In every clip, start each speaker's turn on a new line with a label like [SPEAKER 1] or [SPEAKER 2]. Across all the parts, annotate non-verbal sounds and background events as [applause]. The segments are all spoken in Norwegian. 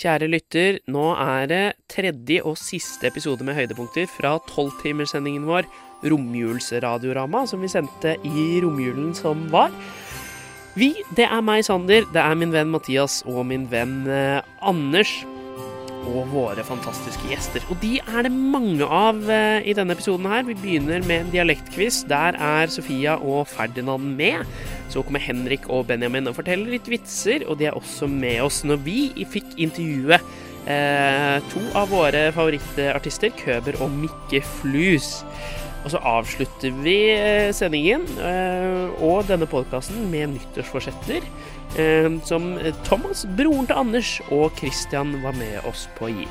[SPEAKER 1] Kjære lytter, nå er det tredje og siste episode med høydepunkter fra tolvtimerssendingen vår Romjulsradiorama, som vi sendte i romjulen som var. Vi, det er meg, Sander, det er min venn Mathias og min venn eh, Anders. Og våre fantastiske gjester. Og de er det mange av eh, i denne episoden her. Vi begynner med en dialektquiz. Der er Sofia og Ferdinand med. Så kommer Henrik og Benjamin og forteller litt vitser, og de er også med oss når vi fikk intervjue eh, to av våre favorittartister, Køber og Mikke Flus. Og så avslutter vi eh, sendingen eh, og denne podkasten med nyttårsforsetter, eh, som Thomas, broren til Anders, og Christian var med oss på å gi.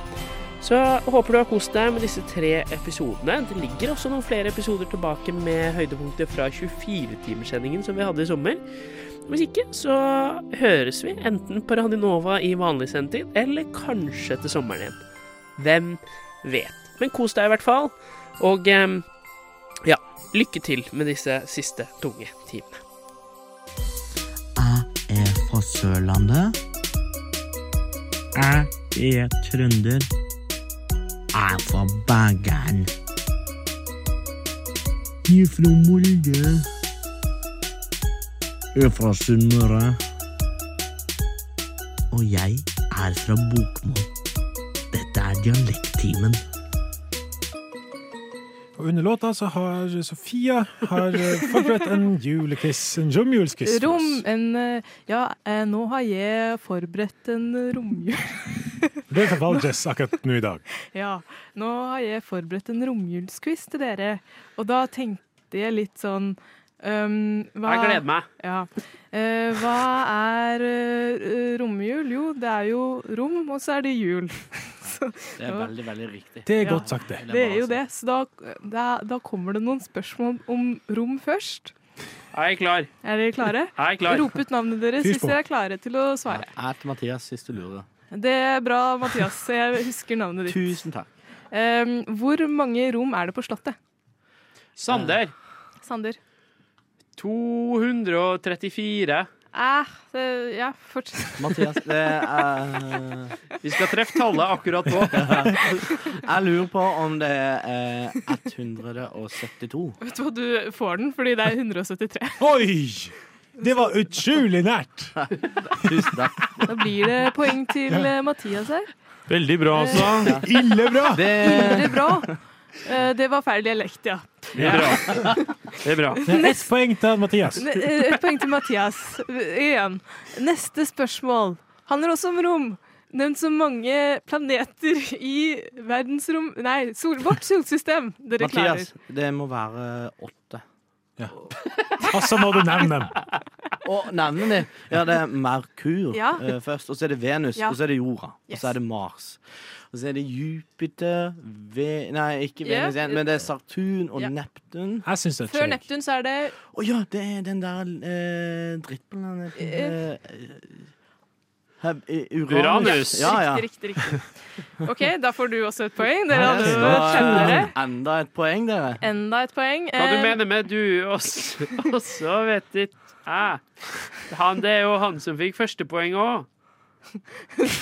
[SPEAKER 1] Så håper du har kost deg med disse tre episodene. Det ligger også noen flere episoder tilbake med høydepunkter fra 24-timerssendingen som vi hadde i sommer. Hvis ikke, så høres vi enten på Radionova i vanlig sendetid, eller kanskje til sommeren igjen. Hvem vet. Men kos deg i hvert fall. Og eh, em, ja, lykke til med disse siste tunge timene.
[SPEAKER 2] Jeg er fra Sørlandet. Jeg er trønder. Jeg er fra Bergen. Jeg er fra Molde. Jeg er fra Sunnmøre. Og jeg er fra Bokmål. Dette er dialekttimen.
[SPEAKER 3] Og under låta så har Sofia har eh, forberedt en julequiz. En romjulsquiz. for
[SPEAKER 4] Rom,
[SPEAKER 3] oss.
[SPEAKER 4] en, eh, ja, eh, nå har jeg forberedt en romjul. [laughs]
[SPEAKER 3] Det er Valges akkurat nå i dag.
[SPEAKER 4] Ja, nå har jeg forberedt en romjulsquiz til dere. Og da tenkte jeg litt sånn um, hva,
[SPEAKER 1] Jeg gleder meg.
[SPEAKER 4] Ja. Eh, hva er eh, romjul? Jo, det er jo rom, og så er det jul. Så,
[SPEAKER 5] Det er
[SPEAKER 4] Ja.
[SPEAKER 5] veldig, veldig riktig.
[SPEAKER 3] Det er
[SPEAKER 4] Ja.
[SPEAKER 3] godt sagt, det.
[SPEAKER 4] det er jo det. Så da, da, da kommer det noen spørsmål om rom først.
[SPEAKER 1] Jeg er klar.
[SPEAKER 4] Er dere klare?
[SPEAKER 1] Jeg er klar.
[SPEAKER 4] Rop ut navnet deres
[SPEAKER 3] Fyr
[SPEAKER 4] hvis
[SPEAKER 3] på.
[SPEAKER 4] dere er klare til å svare.
[SPEAKER 5] Jeg heter Mathias, hvis du lurer.
[SPEAKER 4] Det er bra, Mathias. Jeg husker navnet ditt.
[SPEAKER 5] Tusen takk.
[SPEAKER 4] Ehm, hvor mange rom er det på Slottet?
[SPEAKER 1] Sander.
[SPEAKER 4] Sander?
[SPEAKER 1] 234.
[SPEAKER 4] Eh, det, ja, fortsett.
[SPEAKER 5] Mathias, det er
[SPEAKER 1] Vi skal treffe tallet akkurat nå.
[SPEAKER 5] Jeg lurer på om det er eh, 172.
[SPEAKER 4] [laughs] Vet du hva, du får den, fordi det er 173.
[SPEAKER 3] Oi! Det var utrolig nært!
[SPEAKER 5] Tusen takk.
[SPEAKER 4] Da blir det poeng til eh, Mathias her.
[SPEAKER 6] [laughs] Veldig bra, altså.
[SPEAKER 3] Ille bra!
[SPEAKER 5] Det,
[SPEAKER 4] Veldig bra. Eh, det var feil dialekt, ja.
[SPEAKER 6] Det er bra. Det er bra.
[SPEAKER 3] Det er ett poeng til Mathias.
[SPEAKER 4] Ne- eh, Et poeng til Mathias. Igjen. Neste spørsmål handler også om rom. Nevnt så mange planeter i verdensrom Nei, sol, vårt solsystem. Dere klarer.
[SPEAKER 5] Mathias, det må være åtte.
[SPEAKER 3] Og så må du nevne dem.
[SPEAKER 5] Og navnet ditt Ja, det er Merkur
[SPEAKER 4] Ja.
[SPEAKER 5] eh, først, og så er det Venus,
[SPEAKER 4] Ja.
[SPEAKER 5] og så er det jorda, og
[SPEAKER 4] Yes.
[SPEAKER 5] så er det Mars. Og så er det Jupiter Ve Nei, ikke
[SPEAKER 4] Ja.
[SPEAKER 5] Venus igjen, men det er Saturn og
[SPEAKER 4] Ja.
[SPEAKER 5] Neptun.
[SPEAKER 3] Jeg syns det er
[SPEAKER 4] Før
[SPEAKER 3] chill.
[SPEAKER 4] Neptun så er det
[SPEAKER 5] Å ja, det er den der eh, drittplaneten eh, hev- eh,
[SPEAKER 1] Uranus.
[SPEAKER 5] Ja, ja.
[SPEAKER 4] Riktig, riktig. riktig. OK, da får du også et poeng. Dere
[SPEAKER 3] Ja,
[SPEAKER 4] hadde
[SPEAKER 3] det
[SPEAKER 4] vært
[SPEAKER 3] var-
[SPEAKER 4] kjennere.
[SPEAKER 5] Enda et poeng, dere.
[SPEAKER 4] Enda et poeng.
[SPEAKER 1] Hva du
[SPEAKER 4] Eh,
[SPEAKER 1] mener med du også, [laughs] også vet ikke jeg. Han, det er jo han som fikk førstepoeng òg.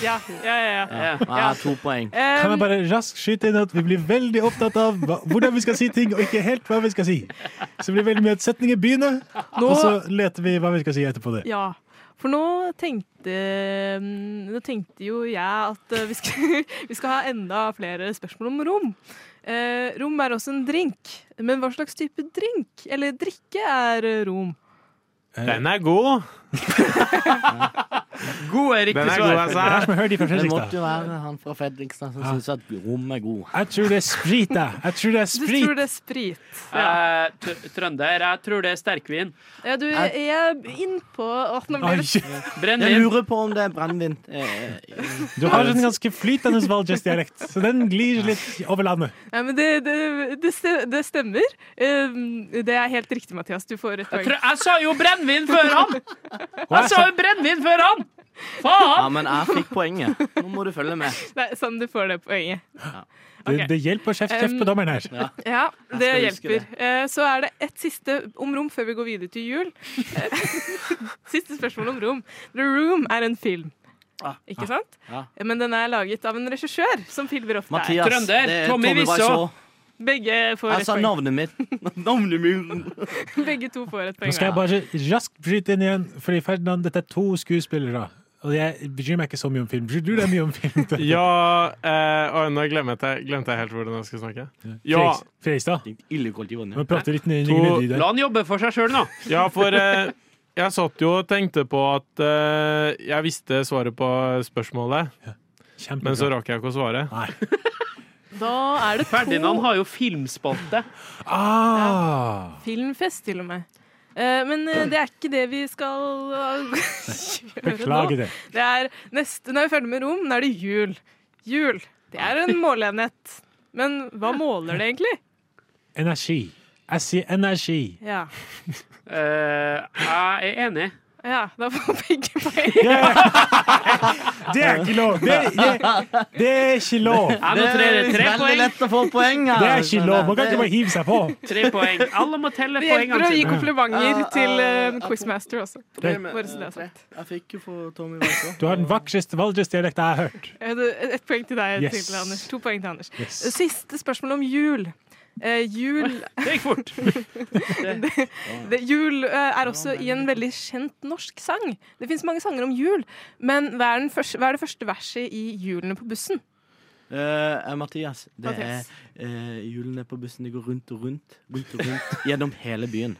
[SPEAKER 4] Ja, ja, ja. ja.
[SPEAKER 5] Ja, jeg har to poeng.
[SPEAKER 4] Eh,
[SPEAKER 3] Kan jeg bare raskt skyte inn at vi blir veldig opptatt av hva, hvordan vi skal si ting, og ikke helt hva vi skal si. Så det blir veldig mye at setninger begynner,
[SPEAKER 4] nå,
[SPEAKER 3] og så leter vi hva vi skal si etterpå det.
[SPEAKER 4] ja. For nå tenkte, mm, nå tenkte jo jeg at eh, vi skal, [laughs] vi skal ha enda flere spørsmål om rom. Eh, rom er også en drink, men hva slags type drink eller drikke er eh, rom?
[SPEAKER 6] Den er god.
[SPEAKER 1] God er
[SPEAKER 6] Den
[SPEAKER 1] riktig
[SPEAKER 6] er god,
[SPEAKER 3] Det
[SPEAKER 1] svar.
[SPEAKER 6] altså.
[SPEAKER 3] er som jeg hørte fra
[SPEAKER 5] Det
[SPEAKER 3] Fredrikstad.
[SPEAKER 5] måtte jo være han fra Fredrikstad som syntes at rom er god.
[SPEAKER 3] Jeg tror det er sprit, jeg. Jeg tror det er
[SPEAKER 4] Du
[SPEAKER 3] sprit.
[SPEAKER 4] tror det er sprit.
[SPEAKER 1] Eh, tr- Trønder, jeg tror det er sterkvin.
[SPEAKER 4] Ja, du jeg er innpå at nå blir det
[SPEAKER 3] Oi,
[SPEAKER 5] Jeg
[SPEAKER 1] Brennevin.
[SPEAKER 5] lurer på om det er brennevin. Eh,
[SPEAKER 3] du har en ganske flytende Valdres-dialekt, så den glir litt over landet.
[SPEAKER 4] Ja, men det, det, det, ste- det stemmer. Eh, det er helt riktig, Mathias. Du får et
[SPEAKER 1] Jeg,
[SPEAKER 4] poeng.
[SPEAKER 1] tror, jeg sa jo brennevin før han! Jeg sa jo brennevin før han!
[SPEAKER 5] Ja,
[SPEAKER 1] Faen!
[SPEAKER 5] men jeg fikk poenget. Nå må du følge med.
[SPEAKER 4] Nei, sånn, du får det poenget.
[SPEAKER 3] Det, det hjelper å kjefte kjeft på dommeren her.
[SPEAKER 4] Ja, det
[SPEAKER 5] skal huske
[SPEAKER 4] hjelper. Eh, Så er det ett siste om rom før vi [laughs] går videre til jul. Eh, siste spørsmål om rom. The Room er en film.
[SPEAKER 5] Ah.
[SPEAKER 4] Ikke sant?
[SPEAKER 5] Ja.
[SPEAKER 4] Men den er laget av en regissør, som filmer ofte er.
[SPEAKER 5] Mathias. Altså,
[SPEAKER 1] Trønder,
[SPEAKER 5] det er
[SPEAKER 1] Tommy Wiseau.
[SPEAKER 5] Wiseau.
[SPEAKER 4] Begge får
[SPEAKER 5] Jeg
[SPEAKER 4] et
[SPEAKER 5] sa
[SPEAKER 4] poeng.
[SPEAKER 5] navnet mitt. [laughs] Navnet
[SPEAKER 4] [laughs]
[SPEAKER 5] mitt.
[SPEAKER 4] Begge to får et
[SPEAKER 3] Nå
[SPEAKER 4] poeng.
[SPEAKER 3] skal jeg bare raskt bryte inn igjen, fordi Ferdinand, dette er to skuespillere. Og jeg bryr meg ikke så mye om film. Bryr du deg mye om film?
[SPEAKER 6] [laughs] Ja eh, oi, Nå glemte jeg, glemte jeg helt hvordan jeg skulle snakke. Ja,
[SPEAKER 3] Fredriks- Fredrikstad?
[SPEAKER 5] Illekoldt i
[SPEAKER 3] Du må
[SPEAKER 5] vannet.
[SPEAKER 3] prate litt ned i
[SPEAKER 6] To-
[SPEAKER 3] ned i det.
[SPEAKER 1] La han jobbe for seg sjøl, nå.
[SPEAKER 6] ja for eh, jeg satt jo og tenkte på at eh, jeg visste svaret på spørsmålet, men så
[SPEAKER 3] Kjempebra.
[SPEAKER 6] rakk jeg ikke å svare.
[SPEAKER 3] Nei.
[SPEAKER 4] Da er det to
[SPEAKER 1] Ferdinand har jo filmspalte.
[SPEAKER 3] Ah,
[SPEAKER 4] filmfest, til og med. Eh, Men eh, det er ikke det vi skal eh, gjøre
[SPEAKER 3] beklager
[SPEAKER 4] nå.
[SPEAKER 3] det.
[SPEAKER 4] Det er neste, når vi er ferdig med rom, nå er det jul. Jul. Det er en måleenhet. Men hva måler det egentlig?
[SPEAKER 3] Energi. Jeg sier energi.
[SPEAKER 4] Ja,
[SPEAKER 1] Eh, jeg er enig.
[SPEAKER 4] ja da får begge poeng.
[SPEAKER 3] Det er ikke lov! Det, det, det er ikke lov!
[SPEAKER 1] Jeg må tre, tre
[SPEAKER 5] veldig
[SPEAKER 1] poeng.
[SPEAKER 5] lett å få poeng her.
[SPEAKER 3] Det er ikke lov! Man kan ikke bare hive seg på.
[SPEAKER 1] Tre poeng. Alle må
[SPEAKER 4] [laughs]
[SPEAKER 1] telle
[SPEAKER 4] Det hjelper å
[SPEAKER 1] poengene
[SPEAKER 4] gi
[SPEAKER 1] sine.
[SPEAKER 4] komplimenter
[SPEAKER 5] Ah,
[SPEAKER 4] til eh,
[SPEAKER 5] ah,
[SPEAKER 4] quizmaster også.
[SPEAKER 5] Problemet-
[SPEAKER 4] Bare så det altså. er sagt.
[SPEAKER 5] Jeg fikk jo for Tommy Wiseau.
[SPEAKER 3] Du har den vakreste valdresdialekten jeg har hørt.
[SPEAKER 4] Eh, det- Et poeng til deg,
[SPEAKER 3] Yes.
[SPEAKER 4] til Anders. To poeng til Anders.
[SPEAKER 3] Yes.
[SPEAKER 4] Siste spørsmål om jul. Eh, jul
[SPEAKER 1] Det gikk fort.
[SPEAKER 4] Det, jul eh, er også i en veldig kjent norsk sang. Det fins mange sanger om jul, men hva er, den første, hva er det første verset i 'Julene på bussen'?
[SPEAKER 5] Eh, eh, Mathias, det
[SPEAKER 4] Mathias.
[SPEAKER 5] er eh, hjulene på bussen. De går rundt og rundt, rundt og
[SPEAKER 3] [laughs]
[SPEAKER 5] rundt gjennom hele byen.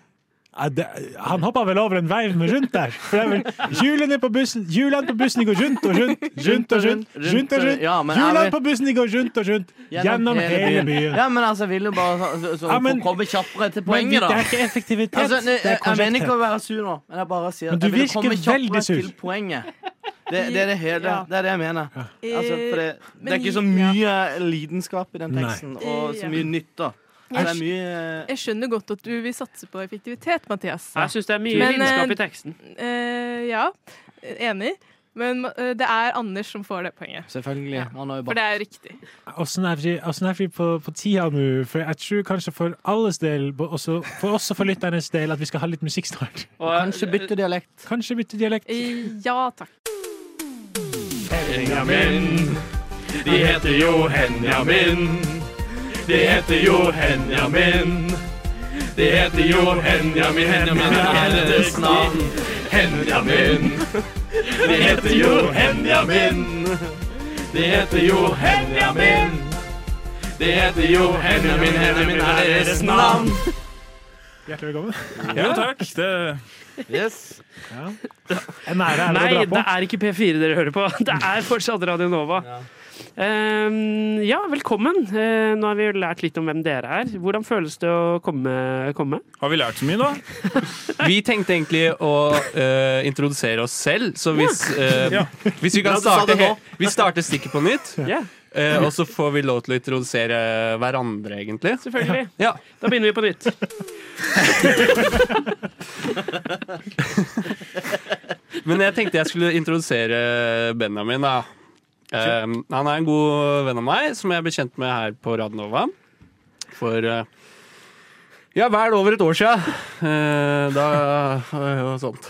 [SPEAKER 3] Ja, det, han hoppa vel over en vei med rundt der. For det er vel Hjulene på bussen Hjulene på bussen de går rundt og rundt, rundt og rundt. rundt og rundt
[SPEAKER 5] Ja, men er
[SPEAKER 3] Hjulene
[SPEAKER 5] vi-
[SPEAKER 3] på bussen de går rundt og rundt gjennom hele byen.
[SPEAKER 5] Ja, men altså, jeg vil jo bare så, så, så
[SPEAKER 3] Ja, men-
[SPEAKER 5] få komme kjappere til
[SPEAKER 3] Men det
[SPEAKER 5] poenget,
[SPEAKER 3] er
[SPEAKER 5] da.
[SPEAKER 3] ikke effektivitet.
[SPEAKER 5] Altså,
[SPEAKER 3] det
[SPEAKER 5] ne,
[SPEAKER 3] er
[SPEAKER 5] jeg, jeg mener ikke
[SPEAKER 3] korrekthet.
[SPEAKER 5] å være sur nå, men jeg bare sier
[SPEAKER 3] Men
[SPEAKER 5] at
[SPEAKER 3] du
[SPEAKER 5] jeg vil
[SPEAKER 3] virker
[SPEAKER 5] komme kjappere
[SPEAKER 3] veldig sur.
[SPEAKER 5] til poenget. Det, det, er det, hele,
[SPEAKER 4] Ja.
[SPEAKER 5] det er det jeg mener. Altså, for det, det
[SPEAKER 4] men
[SPEAKER 5] er ikke så
[SPEAKER 4] i- ja.
[SPEAKER 5] mye lidenskap i den
[SPEAKER 3] Nei.
[SPEAKER 5] teksten, og
[SPEAKER 4] Ja.
[SPEAKER 5] så mye nytt, da. Så det er mye
[SPEAKER 4] Jeg skjønner godt at du vil satse på effektivitet, Mathias.
[SPEAKER 1] Jeg syns det er mye
[SPEAKER 4] Men,
[SPEAKER 1] vitenskap
[SPEAKER 4] eh,
[SPEAKER 1] i teksten.
[SPEAKER 4] Eh, ja, enig. Men eh, det er Anders som får det poenget.
[SPEAKER 5] Selvfølgelig. Han har
[SPEAKER 4] For
[SPEAKER 5] jo bare
[SPEAKER 4] det er jo riktig.
[SPEAKER 3] Åssen er vi- åssen er vi på, på tida nå? For jeg tror kanskje for alles del, bo- også, for oss og for lytternes del, at vi skal ha litt musikk snart.
[SPEAKER 1] Og,
[SPEAKER 5] Kanskje bytte dialekt.
[SPEAKER 3] Kanskje bytte dialekt.
[SPEAKER 4] Eh, ja takk.
[SPEAKER 6] Henjamin. De heter jo Henjamin. De heter jo Henjamin. De heter jo Henjamin, Henjamin er hennes navn. Henjamin. De heter jo Henjamin. De heter jo Henjamin. De heter jo Henjamin, Henjamin er deres navn.
[SPEAKER 3] Hjertelig velkommen.
[SPEAKER 7] Jo, takk. Det,
[SPEAKER 5] Yes.
[SPEAKER 3] En ære er det
[SPEAKER 1] eh, Nei,
[SPEAKER 3] å
[SPEAKER 1] det
[SPEAKER 3] dra på.
[SPEAKER 1] er ikke P4 dere hører på. [laughs] Det er fortsatt Radio Nova. Ja, ja velkommen. Eh, nå har vi jo lært litt om hvem dere er. Hvordan føles det å komme? komme?
[SPEAKER 7] har vi lært så mye, da?
[SPEAKER 8] Vi tenkte egentlig å eh, introdusere oss selv, så hvis, eh,
[SPEAKER 7] Ja.
[SPEAKER 8] hvis vi kan
[SPEAKER 5] du sa
[SPEAKER 8] starte
[SPEAKER 5] det nå.
[SPEAKER 8] he- Vi starter stikket på nytt,
[SPEAKER 1] Ja,
[SPEAKER 8] eh, og så får vi lov til å introdusere hverandre, egentlig.
[SPEAKER 1] selvfølgelig.
[SPEAKER 8] Ja.
[SPEAKER 1] Da begynner vi på nytt.
[SPEAKER 8] Men jeg tenkte jeg skulle introdusere Benjamin, da. Eh, han er en god venn av meg, som jeg ble kjent med her på Radnova. For eh, ja, vel over et år sia. da eh, og sånt.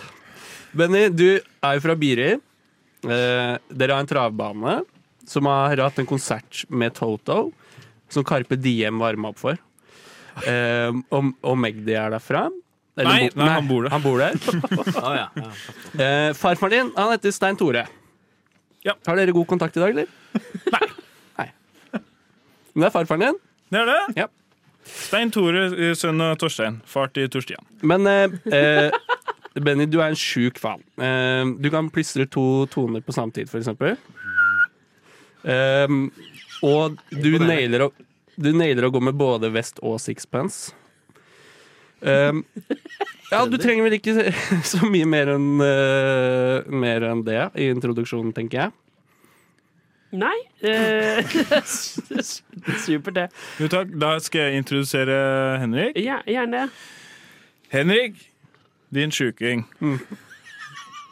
[SPEAKER 8] Benny, du er jo fra Biri. Eh, dere har en travbane som har hatt en konsert med Toto, som Carpe Diem varma opp for. Eh, og, og Magdi er derfra. Eller
[SPEAKER 7] Nei,
[SPEAKER 8] bo-
[SPEAKER 7] nei, han bor der. Ah,
[SPEAKER 8] Han bor der.
[SPEAKER 7] [laughs]
[SPEAKER 5] Å, ja. Ja.
[SPEAKER 8] Eh, farfaren din han heter Stein Tore.
[SPEAKER 7] Ja.
[SPEAKER 8] Har dere god kontakt i dag, eller? Nei. Men det er farfaren din.
[SPEAKER 7] Det er det.
[SPEAKER 8] Ja.
[SPEAKER 7] Stein Tore, eh, sønn av Torstein. Far til Torstian.
[SPEAKER 8] Men eh, eh, Benny, du er en sjuk faen. Eh, du kan plystre to toner på samme tid, for eksempel. Eh, og du nailer, å, du nailer å gå med både vest og sixpence. Eh, ja, du trenger vel ikke [laughs] så mye mer enn eh, mer enn det i introduksjonen, tenker jeg.
[SPEAKER 1] Nei. eh, [laughs] supert, det.
[SPEAKER 7] Jo, takk. Da skal jeg introdusere Henrik.
[SPEAKER 1] Ja, gjerne.
[SPEAKER 7] Henrik, din sjuking.
[SPEAKER 8] Mm.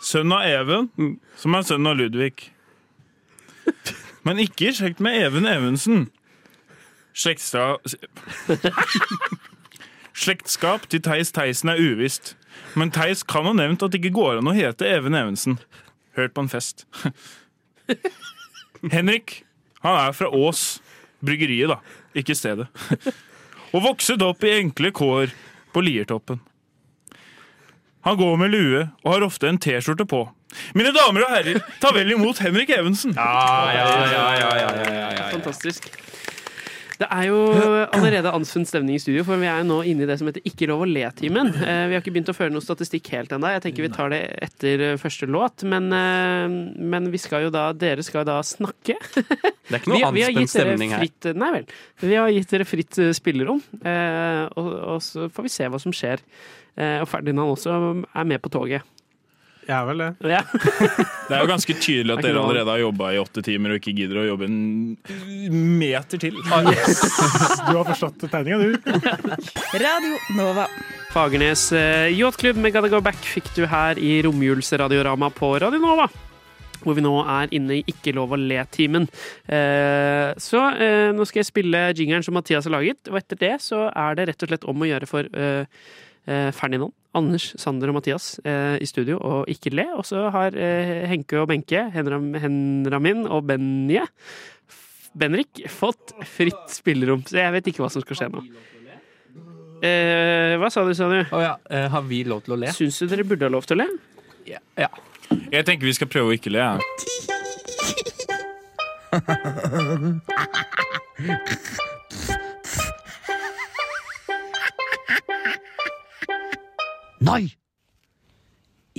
[SPEAKER 7] Sønn av Even,
[SPEAKER 8] Mm.
[SPEAKER 7] som er sønn av Ludvig. Men ikke i slekt med Even Evensen. Slektstra... [laughs] Slektskap til Theis Theisen er uvisst. Men Theis kan ha nevnt at det ikke går an å hete Even Evensen. Hørt på en fest. [laughs] Henrik, han er fra Ås. Bryggeriet, da. Ikke stedet. [laughs] Og vokset opp i enkle kår på Liertoppen. Han går med lue og har ofte en T-skjorte på. Mine damer og herrer, ta vel imot Henrik Evensen!
[SPEAKER 8] Ah,
[SPEAKER 1] Fantastisk. Det er jo allerede anspent stemning i studio, for vi er jo nå inne i det som heter Ikke lov å le-timen. Eh, Vi har ikke begynt å føre noe statistikk helt ennå. Jeg tenker vi tar det etter eh, første låt. Men, eh, men vi skal jo da, dere skal da snakke.
[SPEAKER 8] Det er ikke
[SPEAKER 1] Vi,
[SPEAKER 8] noe
[SPEAKER 1] vi har
[SPEAKER 8] anspent
[SPEAKER 1] gitt dere
[SPEAKER 8] stemning her.
[SPEAKER 1] fritt Nei vel. Vi har gitt dere fritt eh, spillerom, eh, og, og så får vi se hva som skjer. Eh, Og Ferdinand også er med på toget.
[SPEAKER 9] Jeg er vel det.
[SPEAKER 1] Ja.
[SPEAKER 7] Det er jo ganske tydelig at dere allerede har jobba i åtte timer og ikke gidder å jobbe en meter til.
[SPEAKER 3] Ah, Du har forstått tegninga, du.
[SPEAKER 10] Radio Nova.
[SPEAKER 1] Fagernes eh, Yachtklubb med Gotta Go Back fikk du her i romjulsradiorama på Radio Nova. Hvor vi nå er inne i Ikke lov å le-timen. Eh, så eh, nå skal jeg spille jingeren som Mathias har laget, og etter det så er det rett og slett om å gjøre for eh, eh, Ferdinand, Anders, Sander og Mathias eh, i studio å ikke le. Og så har eh, Henke og Benke, Henram, Henramin og Benje, F- Benrik, fått fritt spillerom. Så jeg vet ikke hva som skal skje nå. Eh, hva sa du, sa du?
[SPEAKER 8] Å ja. eh, Har vi lov til å le?
[SPEAKER 1] Syns du dere burde ha lov til å le?
[SPEAKER 8] Ja. ja.
[SPEAKER 7] Jeg tenker vi skal prøve å ikke le. jeg.
[SPEAKER 2] Nei!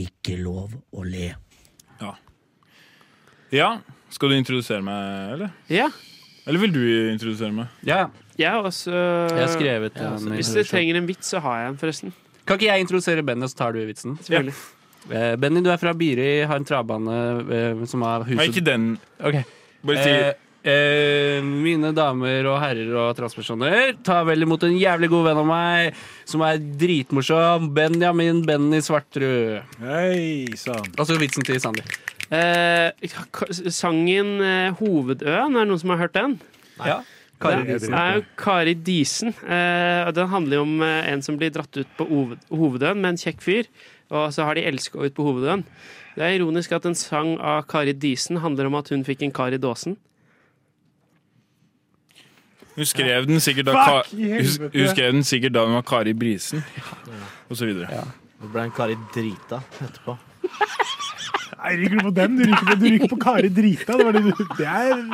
[SPEAKER 2] Ikke lov å le.
[SPEAKER 7] Ja, Skal du introdusere meg, eller?
[SPEAKER 1] Ja.
[SPEAKER 7] Eller vil du introdusere meg?
[SPEAKER 8] ja.
[SPEAKER 1] Jeg har også
[SPEAKER 8] Jeg har skrevet eh, en
[SPEAKER 1] Hvis dere
[SPEAKER 8] introduksjon.
[SPEAKER 1] trenger en vits, så har jeg en, forresten.
[SPEAKER 8] Kan ikke jeg introdusere Benny, og så tar du vitsen?
[SPEAKER 1] Selvfølgelig.
[SPEAKER 8] Eh, Benny, du er fra Biri, har en trabane eh, som er
[SPEAKER 7] Nei,
[SPEAKER 8] huset
[SPEAKER 7] ikke den.
[SPEAKER 8] Ok.
[SPEAKER 7] Bare si
[SPEAKER 8] Eh, eh, mine damer og herrer og transpersoner, ta vel imot en jævlig god venn av meg som er dritmorsom. Benjamin Benny Svartrud.
[SPEAKER 3] Hei sånn. sann.
[SPEAKER 8] Og så vitsen til Sander.
[SPEAKER 1] Eh, k- sangen eh, 'Hovedøen', er det noen som har hørt den?
[SPEAKER 8] Ja. Kari
[SPEAKER 1] Det
[SPEAKER 8] Disen.
[SPEAKER 1] er jo Kari Disen. Eh, og den handler jo om eh, en som blir dratt ut på hoved- Hovedøen med en kjekk fyr, og så har de elska ut på Hovedøen. Det er ironisk at en sang av Kari Disen handler om at hun fikk en kar i dåsen.
[SPEAKER 7] Hun skrev den sikkert da, Ka
[SPEAKER 3] Fuck i
[SPEAKER 7] hun,
[SPEAKER 3] helvete.
[SPEAKER 7] hun skrev den sikkert da hun var Kari Brisen, og så videre.
[SPEAKER 5] Nå ble en kar i drita etterpå.
[SPEAKER 3] Nei, ryker du på den? Du ryker på, du ryker på Kari Drita. Det var det du Det er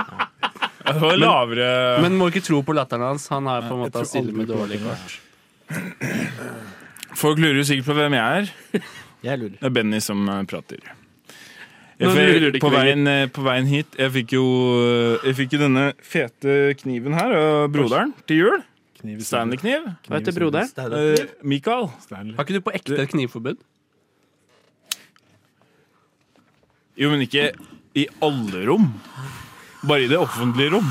[SPEAKER 7] Ja, Det var lavere
[SPEAKER 8] Men må ikke tro på latteren hans. Han er på en måte
[SPEAKER 3] tror
[SPEAKER 8] han stiller
[SPEAKER 3] aldri
[SPEAKER 8] med
[SPEAKER 3] på
[SPEAKER 8] dårlig
[SPEAKER 3] latteren.
[SPEAKER 8] kort.
[SPEAKER 7] Folk lurer jo sikkert på hvem jeg er.
[SPEAKER 5] Jeg lurer.
[SPEAKER 7] Det er Benny som eh, prater. Jeg,
[SPEAKER 1] Nå lurer de
[SPEAKER 7] fikk-
[SPEAKER 1] ikke
[SPEAKER 7] på, veien, eh, på veien hit Jeg fikk jo eh, Jeg fikk jo denne fete kniven her og broderen til jul. Stanley-kniv.
[SPEAKER 1] Hva heter
[SPEAKER 8] sånn.
[SPEAKER 1] broderen?
[SPEAKER 7] Eh, Mikael.
[SPEAKER 8] Har ikke du på ekte et knivforbud?
[SPEAKER 7] Jo, men ikke i alle rom. Bare i det offentlige rom.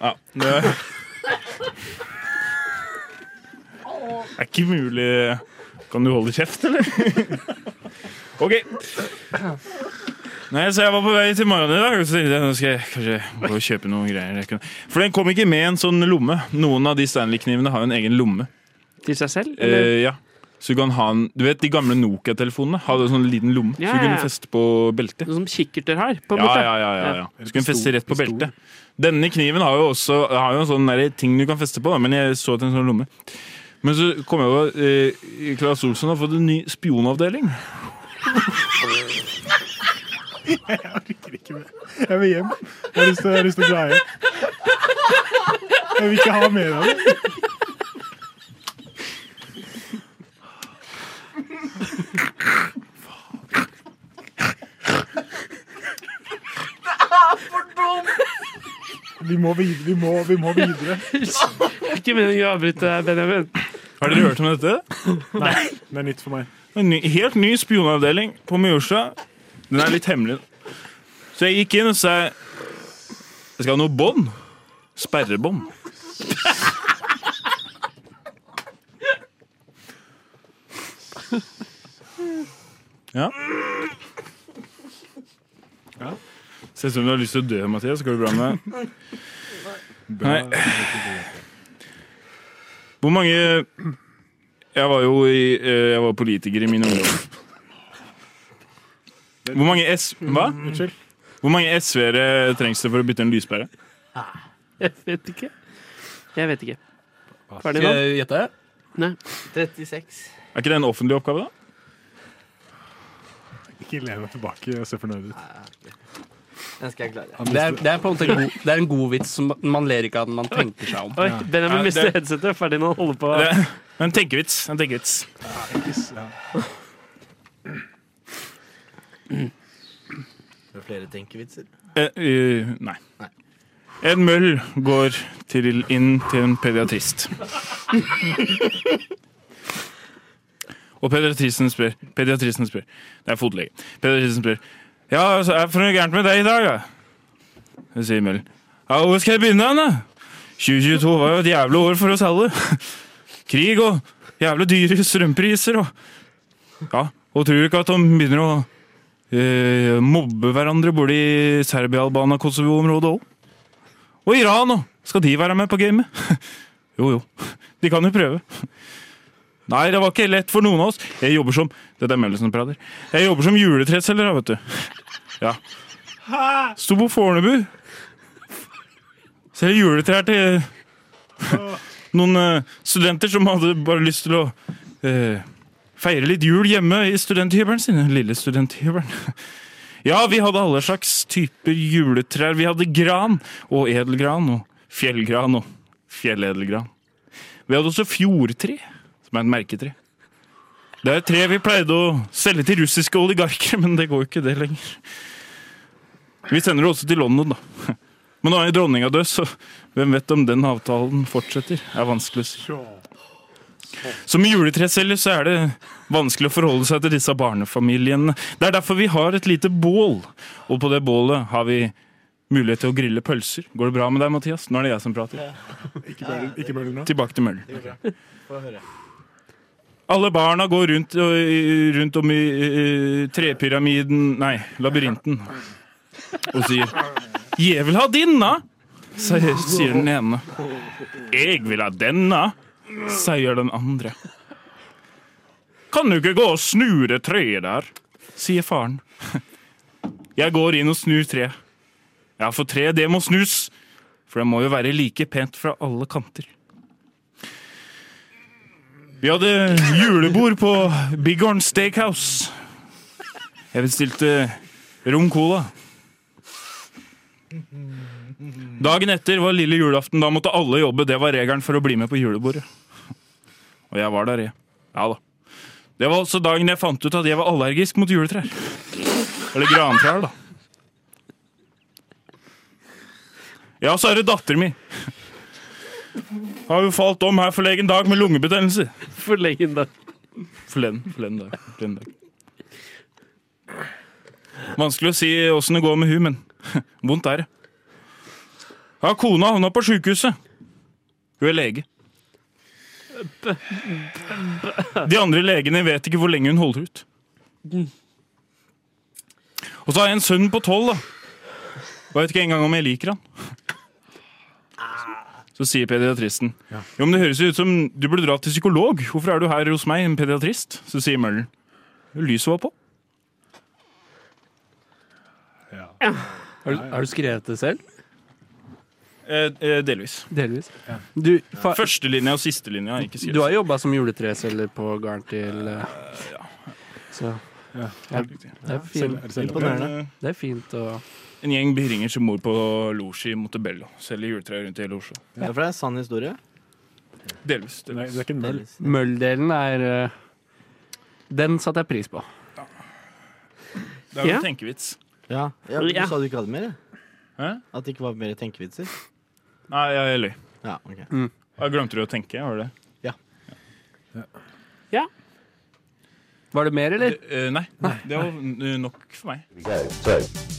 [SPEAKER 7] Ja, det Det er ikke mulig Kan du holde kjeft, eller? [laughs] OK. Nei, så jeg var på vei til morgenen i dag, og så tenkte jeg nå skal jeg kanskje gå og kjøpe noen greier. Jeg kan- For den kom ikke med en sånn lomme. Noen av de Stanley-knivene har jo en egen lomme.
[SPEAKER 1] Til seg selv? eller?
[SPEAKER 7] Eh, ja. Så du kan ha en Du vet de gamle Nokia-telefonene hadde en sånn liten lomme,
[SPEAKER 1] Ja,
[SPEAKER 7] så du
[SPEAKER 1] ja,
[SPEAKER 7] kunne
[SPEAKER 1] ja.
[SPEAKER 7] feste på beltet.
[SPEAKER 1] Noe som kikkerter har, på en
[SPEAKER 7] Ja,
[SPEAKER 1] måte?
[SPEAKER 7] ja, ja, ja, ja. Så kunne du feste
[SPEAKER 3] Pistol,
[SPEAKER 7] rett på
[SPEAKER 3] pistol.
[SPEAKER 7] beltet. Denne kniven har jo også har jo en sånn der ting du kan feste på, da, men jeg så til en sånn lomme. Men så kom jeg over eh, Claes Olsson har fått en ny spionavdeling.
[SPEAKER 3] Jeg vil hjem. Jeg har lyst til, jeg har lyst til å dra hjem. Jeg vil ikke ha mer av det. Vi må videre. Vi må, vi må videre.
[SPEAKER 1] Ikke meningen å avbryte deg, Benjamin.
[SPEAKER 7] Har dere hørt om dette?
[SPEAKER 3] Det er nytt for meg.
[SPEAKER 7] En ny, helt ny spionavdeling på Majorsa. Den er litt hemmelig. Så jeg gikk inn og sa Jeg skal ha noe bånd. Sperrebånd. Ja. Ser ut som du har lyst til å dø, Mathias. Går det bra med deg? Nei. Hvor mange Jeg var jo i, eh, jeg var politiker i min ungdom. Hvor mange S... Hva?
[SPEAKER 3] Unnskyld.
[SPEAKER 7] Hvor mange SV-ere trengs det for å bytte en lyspære?
[SPEAKER 1] Jeg vet ikke. Jeg vet ikke. Ferdig
[SPEAKER 8] Skal
[SPEAKER 1] nå?
[SPEAKER 8] jeg gjette?
[SPEAKER 1] Nei.
[SPEAKER 5] 36.
[SPEAKER 7] Er ikke det en offentlig oppgave, da?
[SPEAKER 3] Ikke lev deg tilbake og se fornøyd ut.
[SPEAKER 5] Den skal jeg klare.
[SPEAKER 3] Han
[SPEAKER 8] Det er,
[SPEAKER 3] mistet-
[SPEAKER 8] det er på en måte god, det er en god vits som man ler ikke av den man tenker seg om.
[SPEAKER 1] Oi,
[SPEAKER 7] Ja,
[SPEAKER 1] Benjamin
[SPEAKER 7] det-
[SPEAKER 1] mister headsetet. Ferdinand holder på.
[SPEAKER 7] Det er en tenkevits. En tenkevits.
[SPEAKER 3] Ja.
[SPEAKER 5] Det er flere tenkevitser.
[SPEAKER 7] Eh, eh, nei. En møll går til, inn til en pediatrist. Og pediatristen spør Pediatristen spør Det er fotlege. Pediatristen spør Ja, altså, er det for noe gærent med deg i dag, da? Det sier møllen. Ja, hvor skal jeg begynne, hen, da? 2022 var jo et jævlig år for oss alle. Krig og jævlig dyre strømpriser og Ja, og tror du ikke at de begynner å eh, mobbe hverandre både i Serbia, Albania, Kosovo-området òg. Og Iran òg! Skal de være med på gamet? [laughs] jo jo, de kan jo prøve. Nei, det var ikke lett for noen av oss. Jeg jobber som Dette er Mellesen prater. Jeg jobber som juletreselger, da, vet du. Ja. Sto på Fornebu. Selger juletrær til noen eh, studenter som hadde bare lyst til å eh, feire litt jul hjemme i studenthybelen sin. den Lille studenthybelen. [laughs] Ja, vi hadde alle slags typer juletrær. Vi hadde gran og edelgran og fjellgran og fjelledelgran. Vi hadde også fjordtre, som er et merketre. Det er et tre vi pleide å selge til russiske oligarker, men det går jo ikke det lenger. Vi sender det også til London, da. [laughs] Men nå er jo dronninga død, så hvem vet om den avtalen fortsetter? Det er vanskelig å si. Som juletreselger så er det vanskelig å forholde seg til disse barnefamiliene. Det er derfor vi har et lite bål, og på det bålet har vi mulighet til å grille pølser. Går det bra med deg, Mathias? Nå er det jeg som prater.
[SPEAKER 3] Ikke bøl- Ikke bøl nå.
[SPEAKER 7] Tilbake til møllen.
[SPEAKER 5] Få høre.
[SPEAKER 7] Alle barna går rundt, ø, rundt om i ø, trepyramiden Nei, labyrinten. Og sier 'Jeg vil ha denne', sier, sier den ene. 'Jeg vil ha denne', sier den andre. 'Kan du ikke gå og snu det treet der', sier faren. Jeg går inn og snur treet. Ja, for treet, det må snus. For det må jo være like pent fra alle kanter. Vi hadde julebord på Bighorn Steakhouse. Jeg bestilte rom cola. Dagen etter var lille julaften. Da måtte alle jobbe. Det var regelen for å bli med på julebordet. Og jeg var der, jeg. Ja da. Det var også dagen jeg fant ut at jeg var allergisk mot juletrær. Eller grantrær, da. Ja, så er det datteren min. Har jo falt om her forlegen dag med lungebetennelse.
[SPEAKER 1] For lenge da.
[SPEAKER 7] Forleden, forleden dag. Forleden dag. Vanskelig å si åssen det går med hun, men [laughs] vondt er det. Ja, kona havna på sjukehuset. Hun er lege. De andre legene vet ikke hvor lenge hun holder ut. Og så har jeg en sønn på tolv, da. Og jeg vet ikke engang om jeg liker han. Så sier pediatristen jo, men Det høres jo ut som du burde dra til psykolog. Hvorfor er du her hos meg, en pediatrist? Så sier Møllen. Lyset var på.
[SPEAKER 8] Har du, har du skrevet det selv?
[SPEAKER 7] Eh, eh, delvis.
[SPEAKER 8] Delvis. Du, fa
[SPEAKER 7] Førstelinja og sistelinja er ikke
[SPEAKER 8] du
[SPEAKER 7] skrevet.
[SPEAKER 8] har jobba som juletreselger på garn til eh, Så
[SPEAKER 3] Ja.
[SPEAKER 8] ja, det, er
[SPEAKER 3] Selv- er
[SPEAKER 8] fint,
[SPEAKER 3] det selv-
[SPEAKER 5] Imponerende.
[SPEAKER 8] det er fint å
[SPEAKER 7] Eh, En gjeng biringer som bor på Loshi i Montebello. Selger juletrær rundt i hele Oslo.
[SPEAKER 5] Ja, for det er en sann historie.
[SPEAKER 7] Delvis.
[SPEAKER 3] Nei,
[SPEAKER 7] delvis.
[SPEAKER 3] det er ikke en møll.
[SPEAKER 5] Delvis.
[SPEAKER 8] Mølldelen er eh, Den satte jeg pris på.
[SPEAKER 7] Det er jo
[SPEAKER 1] Ja.
[SPEAKER 7] en tenkevits.
[SPEAKER 5] Ja, ja men Du
[SPEAKER 1] Ja.
[SPEAKER 5] sa du ikke hadde mer?
[SPEAKER 7] Hæ?
[SPEAKER 5] At det ikke var mer tenkevitser?
[SPEAKER 7] Nei, jeg løy.
[SPEAKER 5] Ja, ok.
[SPEAKER 6] Mm.
[SPEAKER 7] Jeg Glemte du å tenke? Var det det?
[SPEAKER 8] Var det mer, eller?
[SPEAKER 7] Eh, nei. Det var eh, nok for meg.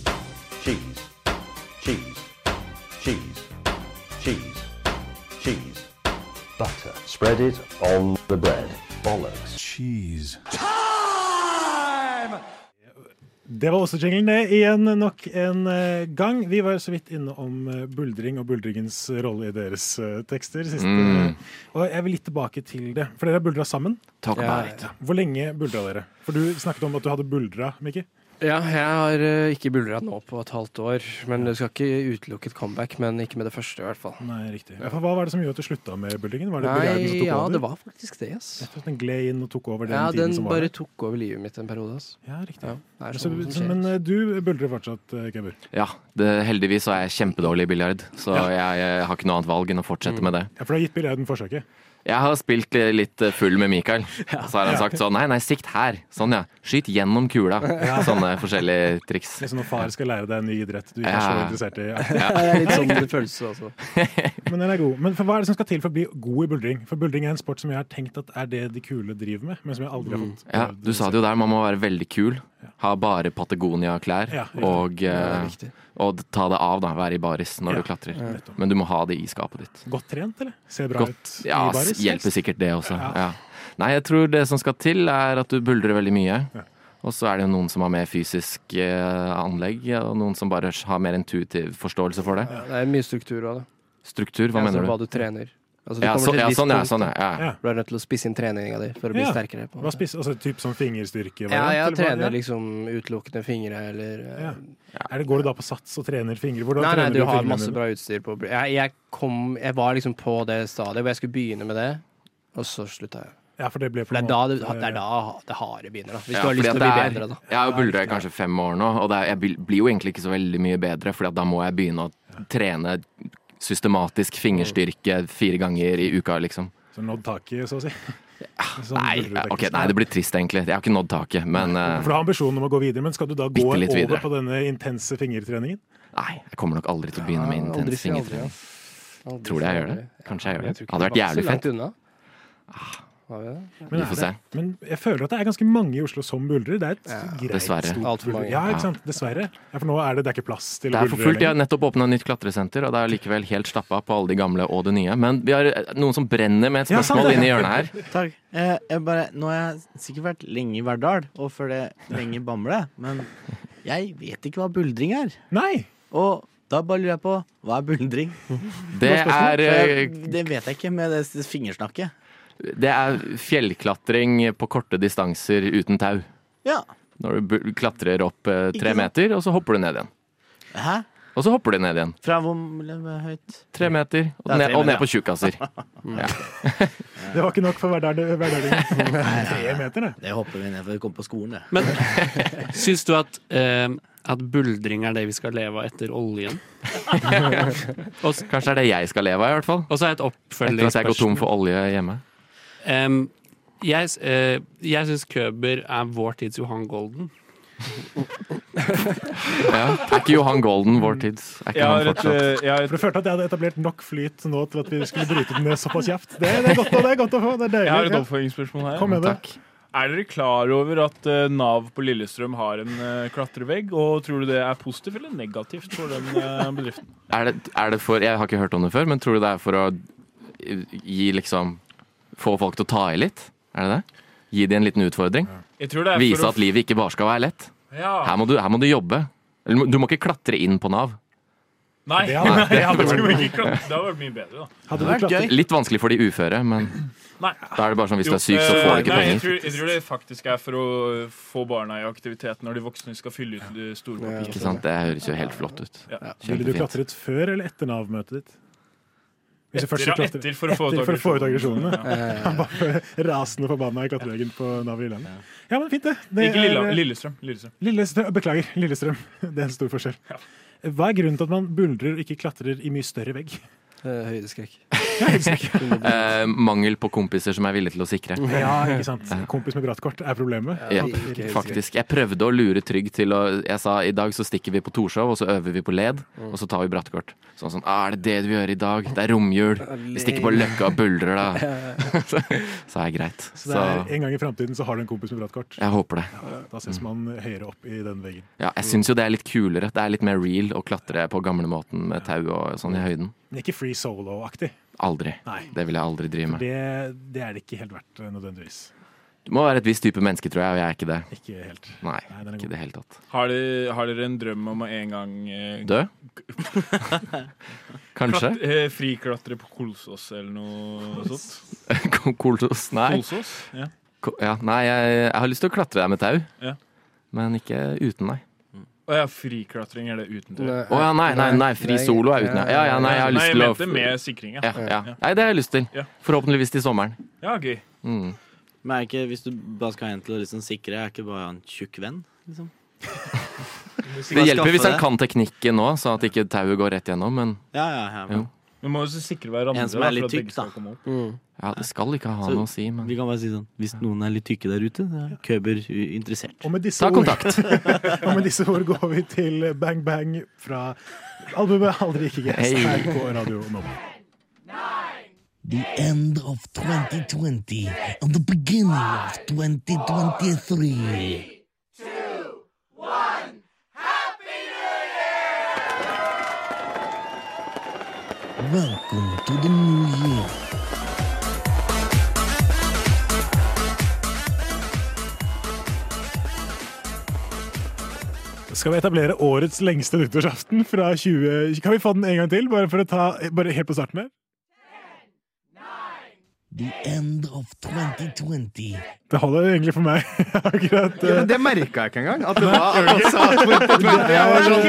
[SPEAKER 3] Det var også jinglen, det. Igjen nok en eh, gang. Vi var så vidt inne om eh, buldring og buldringens rolle i deres eh, tekster. Siste,
[SPEAKER 6] Mm.
[SPEAKER 3] Og jeg vil litt tilbake til det, for dere har buldra sammen.
[SPEAKER 6] Talk
[SPEAKER 8] Ja,
[SPEAKER 6] about it.
[SPEAKER 3] Hvor lenge buldra dere? For du snakket om at du hadde buldra, Mikki.
[SPEAKER 9] Ja, jeg har eh, ikke buldra nå på et halvt år. Men du skal ikke utelukke et comeback, men ikke med det første, i hvert fall.
[SPEAKER 3] Nei, riktig. Ja, for hva var det som gjorde at du slutta med buldringen? Var det begjæren som
[SPEAKER 9] Nei,
[SPEAKER 3] tok
[SPEAKER 9] ja,
[SPEAKER 3] over?
[SPEAKER 9] det var faktisk det, ass.
[SPEAKER 3] Rett og slett Den gled inn og tok over den
[SPEAKER 9] Ja,
[SPEAKER 3] tiden
[SPEAKER 9] den
[SPEAKER 3] som var
[SPEAKER 9] bare
[SPEAKER 3] der.
[SPEAKER 9] tok over livet mitt en periode, ass.
[SPEAKER 3] Ja, riktig.
[SPEAKER 9] Ja, det er
[SPEAKER 3] Så,
[SPEAKER 9] sånn som
[SPEAKER 3] så,
[SPEAKER 9] skjer.
[SPEAKER 3] men eh, du buldrer fortsatt, eh, Kemper.
[SPEAKER 6] Ja, det, heldigvis så er jeg kjempedårlig i biljard, så jeg, eh, har ikke noe annet valg enn å fortsette med det.
[SPEAKER 3] Ja, for du har gitt biljarden forsøket.
[SPEAKER 6] Jeg har spilt eh, litt eh, full med
[SPEAKER 3] [laughs]
[SPEAKER 6] Mikael. Så har han sagt sånn Nei, nei, sikt her. Sånn, ja. Skyt gjennom
[SPEAKER 3] [laughs]
[SPEAKER 6] kula. Sånne forskjellige triks.
[SPEAKER 3] Det er sånn når far skal lære deg en ny idrett du ikke er så
[SPEAKER 6] Ja.
[SPEAKER 3] interessert i.
[SPEAKER 9] [laughs] Ja, det er litt sånn
[SPEAKER 6] [laughs]
[SPEAKER 9] det føles også.
[SPEAKER 3] Men den er god. Men for hva er det som skal til for å bli god i buldring? For buldring er en sport som jeg har tenkt at er det de kule driver med, men som jeg aldri har fått
[SPEAKER 6] Mm. Ja, du sa det jo der, man må være veldig kul. Ha bare Patagonia-klær.
[SPEAKER 3] Ja, riktig.
[SPEAKER 6] Og, eh,
[SPEAKER 9] Ja, det er viktig.
[SPEAKER 6] og ta det av, da. Være i baris når
[SPEAKER 3] Ja,
[SPEAKER 6] du klatrer.
[SPEAKER 3] nettopp.
[SPEAKER 6] Men du må ha det i skapet ditt.
[SPEAKER 3] Godt trent, eller? Ser bra
[SPEAKER 6] Godt.
[SPEAKER 3] ut
[SPEAKER 6] Ja,
[SPEAKER 3] i baris?
[SPEAKER 6] s- hjelper sikkert det også.
[SPEAKER 3] Ja.
[SPEAKER 6] Ja. Nei, jeg tror det som skal til, er at du buldrer veldig mye. Og så er det jo noen som har mer fysisk eh, anlegg, og noen som bare har mer intuitiv forståelse for det.
[SPEAKER 9] Ja, det er mye struktur av det.
[SPEAKER 6] Struktur, hva
[SPEAKER 9] Ja,
[SPEAKER 6] mener
[SPEAKER 9] sånn
[SPEAKER 6] du?
[SPEAKER 9] Hva du trener. Altså, du
[SPEAKER 6] Ja,
[SPEAKER 9] kommer
[SPEAKER 6] så,
[SPEAKER 9] til et
[SPEAKER 6] ja,
[SPEAKER 9] visst
[SPEAKER 6] sånn, ja,
[SPEAKER 9] punkt,
[SPEAKER 6] sånn,
[SPEAKER 9] da.
[SPEAKER 6] ja. ja.
[SPEAKER 3] Ja.
[SPEAKER 9] Du er nødt til å spisse inn treninga di for å bli
[SPEAKER 3] Ja.
[SPEAKER 9] sterkere. På. en
[SPEAKER 3] Hva
[SPEAKER 9] måte.
[SPEAKER 3] spiser, altså typ sånn fingerstyrke?
[SPEAKER 9] Ja, jeg
[SPEAKER 3] eller hva?
[SPEAKER 9] trener liksom utelukkende fingre eller eh,
[SPEAKER 3] Ja. Er det, går du da på sats og trener fingre? Hvordan
[SPEAKER 9] Nei, nei,
[SPEAKER 3] trener
[SPEAKER 9] du har
[SPEAKER 3] fingrene
[SPEAKER 9] masse
[SPEAKER 3] dine?
[SPEAKER 9] bra utstyr på jeg, jeg kom Jeg var liksom på det stadiet hvor jeg skulle begynne med det, og så slutta jeg.
[SPEAKER 3] Ja, for det ble på
[SPEAKER 9] For det
[SPEAKER 3] en
[SPEAKER 9] er da det,
[SPEAKER 3] måte-
[SPEAKER 9] det, er da det harde begynner, da. Hvis
[SPEAKER 6] Ja,
[SPEAKER 9] du har lyst til
[SPEAKER 6] fordi
[SPEAKER 9] å bli
[SPEAKER 6] at det
[SPEAKER 9] bedre, da.
[SPEAKER 6] Jeg har jo buldra i kanskje fem år nå, og det er, jeg blir- blir jo egentlig ikke så veldig mye bedre, for da må jeg begynne å trene systematisk fingerstyrke fire ganger i uka, liksom.
[SPEAKER 3] Så nådd taket, så å si? [laughs] Sånn
[SPEAKER 6] Nei,
[SPEAKER 3] buldrer du deg
[SPEAKER 6] ok,
[SPEAKER 3] ikke.
[SPEAKER 6] nei, det blir trist, egentlig. Jeg har ikke nådd taket, men eh,
[SPEAKER 3] For du har ambisjonen om å gå videre, men skal du da gå
[SPEAKER 6] Bitte
[SPEAKER 3] over
[SPEAKER 6] litt videre.
[SPEAKER 3] på denne intense fingertreningen?
[SPEAKER 6] nei, jeg kommer nok aldri til å begynne med
[SPEAKER 9] Ja, aldri
[SPEAKER 6] intens
[SPEAKER 9] si aldri,
[SPEAKER 6] fingertrening. Tror du jeg gjør det? Kanskje jeg gjør det.
[SPEAKER 9] tror ikke
[SPEAKER 6] Hadde vært
[SPEAKER 9] var så
[SPEAKER 6] jævlig
[SPEAKER 9] langt
[SPEAKER 6] fett. Ah.
[SPEAKER 9] unna. Var vi det?
[SPEAKER 3] Men,
[SPEAKER 6] Vi
[SPEAKER 3] er
[SPEAKER 6] får
[SPEAKER 3] det,
[SPEAKER 6] se.
[SPEAKER 3] men jeg føler at det er ganske mange i Oslo som buldrer. Det er et greit
[SPEAKER 6] Dessverre.
[SPEAKER 3] stort
[SPEAKER 9] Alt for
[SPEAKER 3] buldre-
[SPEAKER 9] mange.
[SPEAKER 3] Ja,
[SPEAKER 6] Ja.
[SPEAKER 3] ikke sant? Dessverre. Ja, for nå er det, det er ikke plass til
[SPEAKER 6] Det er for fullt. Jeg
[SPEAKER 3] lenger.
[SPEAKER 6] har nettopp åpna nytt klatresenter, og det er likevel helt stappa på alle de gamle og det nye. Men vi har eh, noen som brenner med et
[SPEAKER 3] Ja, sant
[SPEAKER 6] spørsmål
[SPEAKER 3] det.
[SPEAKER 6] inne i hjørnet her.
[SPEAKER 5] Takk. Eh, jeg bare, nå har jeg sikkert vært lenge i Verdal, og før det lenge i Bamble, men jeg vet ikke hva buldring er.
[SPEAKER 3] Nei!
[SPEAKER 5] Og da bare lurer jeg på, hva er buldring?
[SPEAKER 6] Det er,
[SPEAKER 5] For
[SPEAKER 6] eh,
[SPEAKER 5] jeg- det vet jeg ikke med det s- fingersnakket.
[SPEAKER 6] det er fjellklatring på korte distanser uten tau.
[SPEAKER 5] Ja.
[SPEAKER 6] Når du bu- klatrer opp eh,
[SPEAKER 5] Ikke
[SPEAKER 6] tre
[SPEAKER 5] sant?
[SPEAKER 6] meter, og så hopper du ned igjen.
[SPEAKER 5] Hæ?
[SPEAKER 6] Og så hopper du ned igjen.
[SPEAKER 5] Fra hvor m- høyt?
[SPEAKER 6] Tre meter, og,
[SPEAKER 5] Ja, tre
[SPEAKER 6] ned, og
[SPEAKER 5] meter,
[SPEAKER 6] ned på tjukkaser.
[SPEAKER 3] Det var ikke nok for hverdal-
[SPEAKER 6] [laughs]
[SPEAKER 3] hverdalingen. Tre meter, det.
[SPEAKER 5] Det hopper vi ned for å komme på skolen, det.
[SPEAKER 8] Men syns du at, eh, at buldring er det vi skal leve av etter oljen? og, s-
[SPEAKER 6] Kanskje det er det jeg skal leve av, i hvert fall.
[SPEAKER 8] og så er et
[SPEAKER 6] Etter at jeg går tom
[SPEAKER 8] oppfølgingsspørsmål.
[SPEAKER 6] for olje hjemme.
[SPEAKER 8] Em, jeg s- eh, jeg syns Køber er vår tids Johan Golden.
[SPEAKER 6] Ja. Er ikke Johan Golden vår tids?
[SPEAKER 7] Jeg
[SPEAKER 6] Er ikke
[SPEAKER 7] har
[SPEAKER 6] han
[SPEAKER 7] et,
[SPEAKER 6] fortsatt?
[SPEAKER 7] eh, jeg har et,
[SPEAKER 3] For du følte at jeg hadde etablert nok flyt nå til at vi skulle bryte den ned såpass kjapt. Det, det er godt å, det er godt å få. Det er
[SPEAKER 7] jeg har et
[SPEAKER 3] deilig.
[SPEAKER 7] oppfølgingsspørsmål
[SPEAKER 3] Ja.
[SPEAKER 7] her.
[SPEAKER 3] Kom med det.
[SPEAKER 6] Takk.
[SPEAKER 7] Er dere klar over at eh, Nav på Lillestrøm har en eh, klatrevegg? Og tror du det er positivt eller negativt for den eh, bedriften?
[SPEAKER 6] Er det, er det for Jeg har ikke hørt om det før, men tror du det er for å eh, gi liksom Få folk til å ta i litt? Er det det? Gi de en liten utfordring?
[SPEAKER 7] Jeg tror det er
[SPEAKER 6] Vise
[SPEAKER 7] for
[SPEAKER 6] at livet ikke bare skal være lett?
[SPEAKER 7] å ja.
[SPEAKER 6] Her må du, her må du jobbe. Eller Du må ikke klatre inn på Nav.
[SPEAKER 7] Nei,
[SPEAKER 3] Det
[SPEAKER 7] [laughs]
[SPEAKER 3] hadde-
[SPEAKER 7] nei,
[SPEAKER 3] det hadde
[SPEAKER 7] jeg
[SPEAKER 3] vært-
[SPEAKER 7] tror ikke klatre. det hadde vært mye bedre, da.
[SPEAKER 3] Hadde du klart det?
[SPEAKER 6] Litt vanskelig for de uføre, men
[SPEAKER 7] Nei.
[SPEAKER 6] da er det bare sånn hvis du er syk,
[SPEAKER 7] Jo,
[SPEAKER 6] så får du
[SPEAKER 7] eh,
[SPEAKER 6] ikke
[SPEAKER 7] nei, jeg
[SPEAKER 6] penger.
[SPEAKER 7] tror, jeg tror det faktisk er for å få barna i aktivitet når de voksne skal fylle ut de store papirene.
[SPEAKER 6] Ikke sant? Det høres jo helt flott ut.
[SPEAKER 7] Ja.
[SPEAKER 3] Ville du
[SPEAKER 6] Kjempefint.
[SPEAKER 3] klatret før eller etter Nav-møtet ditt? Hvis du først
[SPEAKER 7] Etter,
[SPEAKER 3] skulle klatre-
[SPEAKER 7] etter for å få
[SPEAKER 3] etter for å få ut aggresjonene.
[SPEAKER 7] Ja.
[SPEAKER 3] [laughs] Han var for rasende forbanna i klatreveggen på Nav i Lillehammer. Ja, men fint, det. det
[SPEAKER 7] Ikke Lilla,
[SPEAKER 3] er-
[SPEAKER 7] Lillestrøm. Lillestrøm.
[SPEAKER 3] Lillestrøm, eh, beklager, Lillestrøm. [laughs] Det er en stor forskjell.
[SPEAKER 7] Ja.
[SPEAKER 3] Hva er grunnen til at man buldrer og ikke klatrer i mye større vegg?
[SPEAKER 9] Eh,
[SPEAKER 3] [laughs]
[SPEAKER 9] Høydeskrekk.
[SPEAKER 6] Eh, mangel på kompiser som er villige til å sikre.
[SPEAKER 3] Ja, ikke sant? Kompis med bratt kort er problemet.
[SPEAKER 6] Ja,
[SPEAKER 9] Ikke
[SPEAKER 6] faktisk. Jeg prøvde å lure Trygg til å Jeg sa i dag så stikker vi på Torshov, og så øver vi på Led,
[SPEAKER 8] Mm.
[SPEAKER 6] og så tar vi brattkort. Sånn sånn ah, Er det det du gjør i dag? Det er romjul. Vi stikker på Løkka og buldrer, da. Så så er det greit.
[SPEAKER 3] Så det
[SPEAKER 6] Så
[SPEAKER 3] er, en gang i framtiden så har du en kompis med bratt kort.
[SPEAKER 6] jeg håper det.
[SPEAKER 3] Da ses man høyere opp i den veggen.
[SPEAKER 6] Ja, jeg syns jo det er litt kulere. Det er litt mer real å klatre på gamlemåten med tau og sånn i høyden.
[SPEAKER 3] Men ikke free solo-aktig.
[SPEAKER 6] Aldri.
[SPEAKER 3] Nei.
[SPEAKER 6] Det vil jeg aldri drive med.
[SPEAKER 3] Det, det er det ikke helt verdt, eh, nødvendigvis.
[SPEAKER 6] Du må være et visst type menneske, tror jeg, og jeg er ikke det.
[SPEAKER 3] Ikke helt.
[SPEAKER 6] Nei, ikke i det hele tatt.
[SPEAKER 11] Har, de, har dere en drøm om å en gang eh, [laughs]
[SPEAKER 6] Dø? Kanskje.
[SPEAKER 11] Klat, eh, friklatre på Kolsås eller noe sånt?
[SPEAKER 6] [laughs] Kolsås? Nei.
[SPEAKER 11] Kolsås? Ja.
[SPEAKER 6] Ko- Ja, nei, jeg, jeg har lyst til å klatre der med tau,
[SPEAKER 11] Ja.
[SPEAKER 6] men ikke uten, nei.
[SPEAKER 11] Å ja, friklatring er det uten tau.
[SPEAKER 6] Å ja, nei, nei, nei, fri solo er uten. Ja, ja, nei, jeg har lyst til å
[SPEAKER 11] Nei, jeg mente med sikring,
[SPEAKER 6] ja, ja. Nei, det har jeg lyst til.
[SPEAKER 11] Ja.
[SPEAKER 6] Forhåpentligvis til sommeren.
[SPEAKER 11] Ja, gøy.
[SPEAKER 6] Mm.
[SPEAKER 5] Men er ikke, hvis du bare skal ha en til å liksom sikre, er ikke bare en tjukk venn? Liksom?
[SPEAKER 6] Det hjelper hvis han
[SPEAKER 5] Skaffe
[SPEAKER 6] kan teknikken nå, så at ikke tauet går rett gjennom, men
[SPEAKER 5] Ja, ja, ja.
[SPEAKER 6] jo.
[SPEAKER 11] Vi må jo så sikre hverandre.
[SPEAKER 5] En som
[SPEAKER 11] da,
[SPEAKER 5] er
[SPEAKER 11] for
[SPEAKER 5] litt
[SPEAKER 11] at begge
[SPEAKER 5] tykk,
[SPEAKER 11] skal
[SPEAKER 5] da.
[SPEAKER 11] komme opp.
[SPEAKER 8] Mm.
[SPEAKER 6] Ja, det skal ikke ha
[SPEAKER 5] Så
[SPEAKER 6] noe å si, men
[SPEAKER 5] Vi kan bare si sånn Hvis noen er litt tykke der ute, da er Køber u- interessert.
[SPEAKER 3] [laughs] Og med disse
[SPEAKER 6] Ta
[SPEAKER 3] ord-
[SPEAKER 6] kontakt. [laughs]
[SPEAKER 3] og med disse ord går vi til Bang Bang fra albumet Aldri ikke gest
[SPEAKER 2] Hei.
[SPEAKER 3] her på Radio Nova.
[SPEAKER 2] The end of 2020 and the beginning of 2023. Welcome to the new year.
[SPEAKER 3] Skal vi etablere årets lengste nyttårsaften fra 20... Kan vi få den en gang til, bare for å ta bare helt på starten her?
[SPEAKER 2] The end of 2020.
[SPEAKER 3] Det holder egentlig for meg. [laughs] akkurat.
[SPEAKER 12] Ja, men det merka jeg ikke engang. At det var altså, at-
[SPEAKER 11] [laughs]
[SPEAKER 12] Jeg var sånn-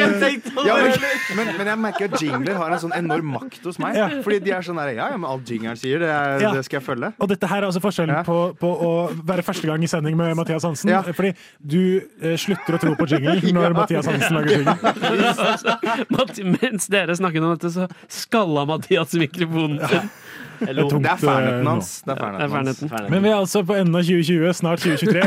[SPEAKER 12] Ja, men, men, men jeg merker at jingler har en sånn enorm makt hos meg.
[SPEAKER 3] Ja.
[SPEAKER 12] Fordi de er sånn her Ja, ja, men alt jingeren sier, det, er,
[SPEAKER 3] Ja.
[SPEAKER 12] det skal jeg følge.
[SPEAKER 3] Og dette her er altså forskjellen på, på å være første gang i sending med Mathias Hansen. Fordi du eh, slutter å tro på jingle
[SPEAKER 12] [laughs]
[SPEAKER 3] når Mathias Hansen lager jingle.
[SPEAKER 1] Mathi- Mens dere snakket om dette, så skalla Mathias mikrofonen.
[SPEAKER 12] Det er tungt, Det er ferdigheten eh, hans. nå. Det er ferdigheten hans.
[SPEAKER 3] Men vi er altså på enden av 2020, snart
[SPEAKER 12] [laughs]
[SPEAKER 3] 2023.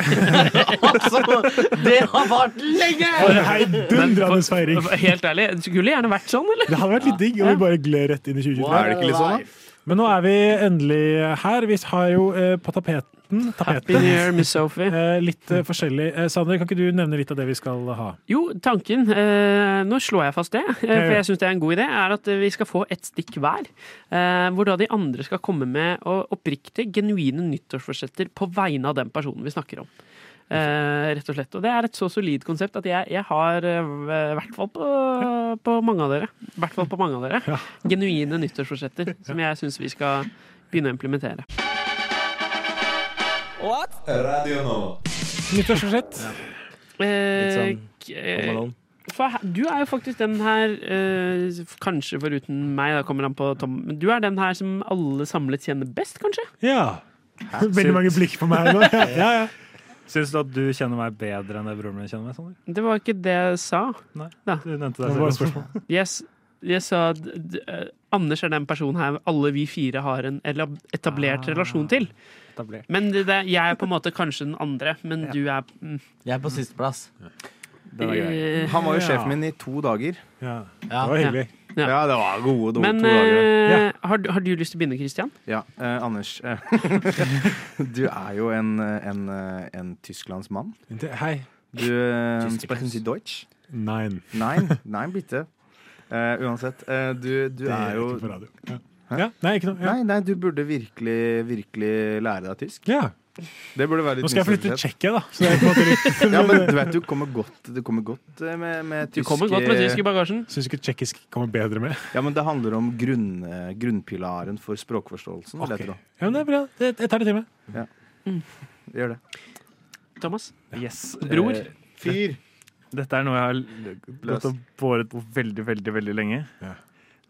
[SPEAKER 1] det har vart lenge!
[SPEAKER 3] For en heidundrende feiring.
[SPEAKER 1] Helt ærlig, det skulle gjerne vært sånn, eller?
[SPEAKER 3] Det hadde vært litt digg om vi bare gled rett inn i 2023.
[SPEAKER 1] Wow, er det ikke litt sånn, da?
[SPEAKER 3] Men nå er vi endelig her. Vi har jo eh, på tapeten, tapeten
[SPEAKER 1] Happy New Year, Miss Sophie.
[SPEAKER 3] eh, litt eh, forskjellig. Eh, Sander, kan ikke du nevne litt av det vi skal ha?
[SPEAKER 1] Jo, tanken eh, Nå slår jeg fast det, eh, for jeg syns det er en god idé. Er at eh, vi skal få ett stikk hver. eh, hvor da de andre skal komme med og oppriktige, genuine nyttårsforsetter på vegne av den personen vi snakker om. Eh, rett og slett. Og det er et så solid konsept at jeg, jeg har eh, i hvert fall på, på mange av dere. I hvert fall på mange av dere. Genuine nyttårsforsetter som jeg syns vi skal begynne å implementere.
[SPEAKER 8] What?
[SPEAKER 13] Radio Nova.
[SPEAKER 3] Nyttårsforsett? sånn
[SPEAKER 1] Eh,
[SPEAKER 13] Litt
[SPEAKER 1] k-
[SPEAKER 13] Home Alone.
[SPEAKER 1] Eh, for he- du er jo faktisk den her, eh, f- kanskje foruten meg, da kommer han på Tom, men du er den her som alle samlet kjenner best, kanskje?
[SPEAKER 7] eh,
[SPEAKER 3] Ja. [laughs] Veldig mange blikk på meg nå. Ja, [laughs] ja, ja.
[SPEAKER 7] Syns du at du kjenner meg bedre enn det broren min kjenner meg? Sander?
[SPEAKER 1] Det var ikke det jeg sa.
[SPEAKER 7] Nei,
[SPEAKER 1] da.
[SPEAKER 7] du nevnte det Det var selv. et [laughs] spørsmål.
[SPEAKER 1] Yes, jeg sa at d- eh, Anders er den personen her alle vi fire har en elab- etablert relasjon til.
[SPEAKER 7] Etablert.
[SPEAKER 1] Men det, det, jeg er på en måte kanskje den andre, men du er mm.
[SPEAKER 5] Jeg er på sisteplass.
[SPEAKER 12] Den er grei.
[SPEAKER 1] Eh,
[SPEAKER 12] Han var jo
[SPEAKER 1] ja.
[SPEAKER 12] sjefen min i to dager.
[SPEAKER 3] Ja,
[SPEAKER 1] Det var hyggelig.
[SPEAKER 12] Ja, det var gode do-
[SPEAKER 1] Men
[SPEAKER 12] to dager.
[SPEAKER 1] eh, har, du- har du lyst til å begynne, Christian?
[SPEAKER 12] Ja, eh, Anders. eh, du er jo en, eh, en, eh, en Tysklandsmann.
[SPEAKER 3] Hei.
[SPEAKER 12] Du eh, sprechen Sie Deutsch?
[SPEAKER 3] Nein.
[SPEAKER 12] Nein, nein bitte. Eh, uansett, eh, du, du
[SPEAKER 3] Det
[SPEAKER 12] er
[SPEAKER 3] er
[SPEAKER 12] jo
[SPEAKER 3] ikke på radio.
[SPEAKER 12] Hæ?
[SPEAKER 3] Nei, ikke noe. Ja.
[SPEAKER 12] Nei, nei, du burde virkelig, virkelig lære deg tysk.
[SPEAKER 3] Ja.
[SPEAKER 12] Det burde være litt
[SPEAKER 3] Nå skal jeg flytte til
[SPEAKER 12] nyttig,
[SPEAKER 3] Tsjekkia, da. Så det er på en måte
[SPEAKER 12] rett og slett.
[SPEAKER 3] litt
[SPEAKER 12] ja, men du vet, du kommer godt, du kommer godt eh, med, med
[SPEAKER 3] Du
[SPEAKER 12] tysk
[SPEAKER 3] kommer godt med tysk i
[SPEAKER 1] bagasjen.
[SPEAKER 3] Syns ikke tsjekkisk kommer bedre med.
[SPEAKER 12] Ja, men det handler om grunn, eh, grunnpilaren for språkforståelsen, Sånn vil jeg tro.
[SPEAKER 3] Ja, men det er bra. Det- Jeg tar det til meg.
[SPEAKER 12] Ja. Gjør det.
[SPEAKER 1] Thomas?
[SPEAKER 7] Yes.
[SPEAKER 1] Bror?
[SPEAKER 7] Eh, Dette er noe jeg har l- gått og båret på veldig, veldig veldig lenge.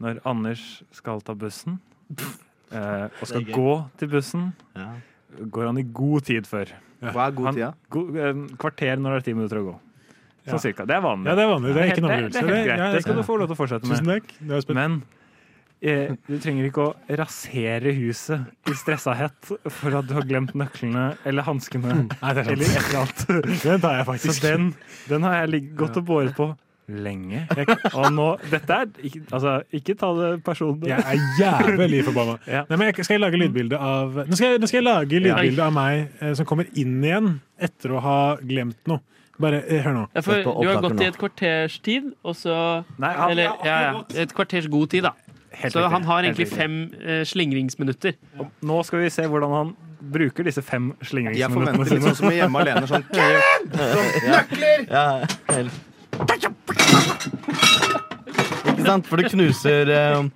[SPEAKER 7] Når Anders skal ta bussen, eh, og skal
[SPEAKER 12] Det er gøy.
[SPEAKER 7] gå til bussen,
[SPEAKER 12] Ja.
[SPEAKER 7] går han i god tid før.
[SPEAKER 12] Hva er god
[SPEAKER 7] Han-
[SPEAKER 12] tid, da?
[SPEAKER 7] go- eh, Kvarter når det er ti minutter å gå. Sånn
[SPEAKER 3] Ja.
[SPEAKER 7] cirka. Det er vanlig.
[SPEAKER 3] Ja, det er vanlig. Det er ikke noe
[SPEAKER 7] helt- det er
[SPEAKER 3] overgjørelse.
[SPEAKER 7] helt
[SPEAKER 3] Det- ja,
[SPEAKER 7] greit. Det skal
[SPEAKER 3] ja.
[SPEAKER 7] du få lov til å fortsette med.
[SPEAKER 3] Tusen takk. Nå er jeg spent.
[SPEAKER 7] Men eh, du trenger ikke å rasere huset i stressahet for at du har glemt nøklene eller hanskene
[SPEAKER 3] Nei, det er sant.
[SPEAKER 7] eller et eller annet.
[SPEAKER 3] Den tar jeg
[SPEAKER 7] Så
[SPEAKER 3] faktisk.
[SPEAKER 7] den, den har jeg ligg- gått og båret på lenge. Jeg, og nå, dette er ikke, altså, ikke ta det personlig.
[SPEAKER 3] Jeg er jævlig forbanna. Nei, men jeg, skal jeg lage lydbilde av Nå skal jeg, nå skal jeg lage lydbilde av meg eh, som kommer inn igjen etter å ha glemt noe. Bare eh, hør nå.
[SPEAKER 1] Ja, for du har gått i et kvarters tid, og så
[SPEAKER 7] Nei, han-
[SPEAKER 1] Eller ja, ja, et kvarters god tid, da.
[SPEAKER 7] Helt
[SPEAKER 1] så
[SPEAKER 7] riktig,
[SPEAKER 1] han har
[SPEAKER 7] helt
[SPEAKER 1] egentlig
[SPEAKER 7] riktig.
[SPEAKER 1] fem eh, slingringsminutter.
[SPEAKER 7] Nå skal vi se hvordan han
[SPEAKER 14] bruker disse fem slingringsminuttene
[SPEAKER 12] Jeg forventer litt sånn som i Hjemme alene, sånn,
[SPEAKER 5] Sånn, nøkler!
[SPEAKER 12] Ja.
[SPEAKER 5] Ikke sant? For det knuser eh,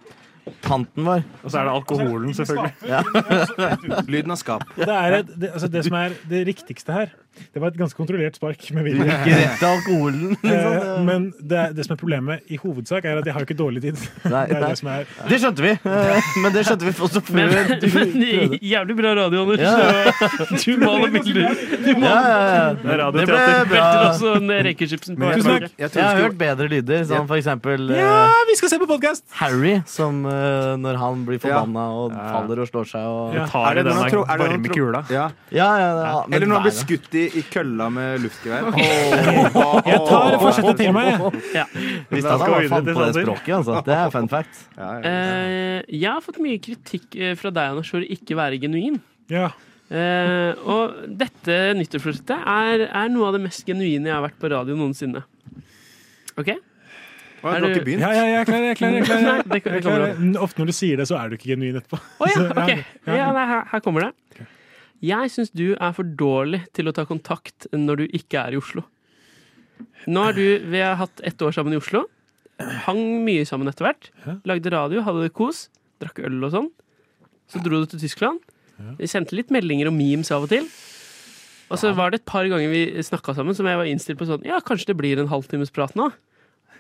[SPEAKER 5] panten vår.
[SPEAKER 14] Og så er det alkoholen, selvfølgelig.
[SPEAKER 5] Ja.
[SPEAKER 12] Lyden av skap.
[SPEAKER 3] Det, er et, det, altså det som er det riktigste her, det var et ganske kontrollert spark med vilje.
[SPEAKER 12] [laughs]
[SPEAKER 5] Ikke rett til
[SPEAKER 3] [laughs]
[SPEAKER 5] alkoholen. Liksom.
[SPEAKER 3] Eh, Men det, er, det som er problemet i hovedsak, er at jeg har jo ikke
[SPEAKER 12] [laughs]
[SPEAKER 3] dårlig tid.
[SPEAKER 5] Nei,
[SPEAKER 3] det er
[SPEAKER 5] nei.
[SPEAKER 3] det som er
[SPEAKER 5] Det skjønte vi, [laughs] eh, men det skjønte vi også før
[SPEAKER 3] Men-
[SPEAKER 5] du
[SPEAKER 1] [laughs]
[SPEAKER 5] prøvde.
[SPEAKER 3] men
[SPEAKER 7] Jævlig bra radio, Anders.
[SPEAKER 5] Ja.
[SPEAKER 7] Du maler bilder. Du maler.
[SPEAKER 5] Ja, ja, ja.
[SPEAKER 7] Det er
[SPEAKER 5] Det ble
[SPEAKER 7] radioteater.
[SPEAKER 5] bra.
[SPEAKER 7] Velter også en rekechipsen på
[SPEAKER 5] Men jeg,
[SPEAKER 7] hverandre.
[SPEAKER 5] tror- jeg har hørt bedre lyder, som for eksempel eh,
[SPEAKER 3] vi skal se på podkast!
[SPEAKER 5] Harry, som eh, når han blir forbanna og faller og slår seg og
[SPEAKER 12] Ja. Er det når han tro- er det når han tro- Ja.
[SPEAKER 5] Ja, ja, ja, men
[SPEAKER 12] Eller når han
[SPEAKER 5] nei,
[SPEAKER 12] blir
[SPEAKER 5] da.
[SPEAKER 12] skutt i, i kølla med
[SPEAKER 7] [laughs]
[SPEAKER 12] luftgevær.
[SPEAKER 5] Jeg tar forsetet til meg.
[SPEAKER 1] Ja.
[SPEAKER 5] Visste at han var faen på det språket, altså. Det er fun fact.
[SPEAKER 1] Eh, jeg har fått mye kritikk eh, fra deg, Anders, for å ikke være genuin.
[SPEAKER 3] Ja.
[SPEAKER 1] Eh, og dette nyttårsforsettet er, er noe av det mest genuine jeg har vært på radio noensinne. OK?
[SPEAKER 3] Ja, du
[SPEAKER 1] Er
[SPEAKER 3] har
[SPEAKER 1] du-
[SPEAKER 3] ikke begynt? Ja, ja, jeg er klar, jeg er klar. Jeg er klar,
[SPEAKER 1] Nei, det- det
[SPEAKER 3] Jeg er
[SPEAKER 1] kommer
[SPEAKER 3] klar.
[SPEAKER 1] an.
[SPEAKER 3] Men Ofte når du sier det, så er du ikke genuin etterpå.
[SPEAKER 1] Å ja,
[SPEAKER 3] Så,
[SPEAKER 1] ok.
[SPEAKER 3] ja.
[SPEAKER 1] Ja, nei, her, her kommer det. Jeg syns du er for dårlig til å ta kontakt når du ikke er i Oslo. Nå har du, Vi har hatt ett år sammen i Oslo. Hang mye sammen etter hvert. Lagde radio, hadde det kos. Drakk øl og sånn. Så dro du til Tyskland. Vi sendte litt meldinger og memes av og til. Og så var det et par ganger vi snakka sammen som jeg var innstilt på sånn Ja, kanskje det blir en halvtimes prat nå?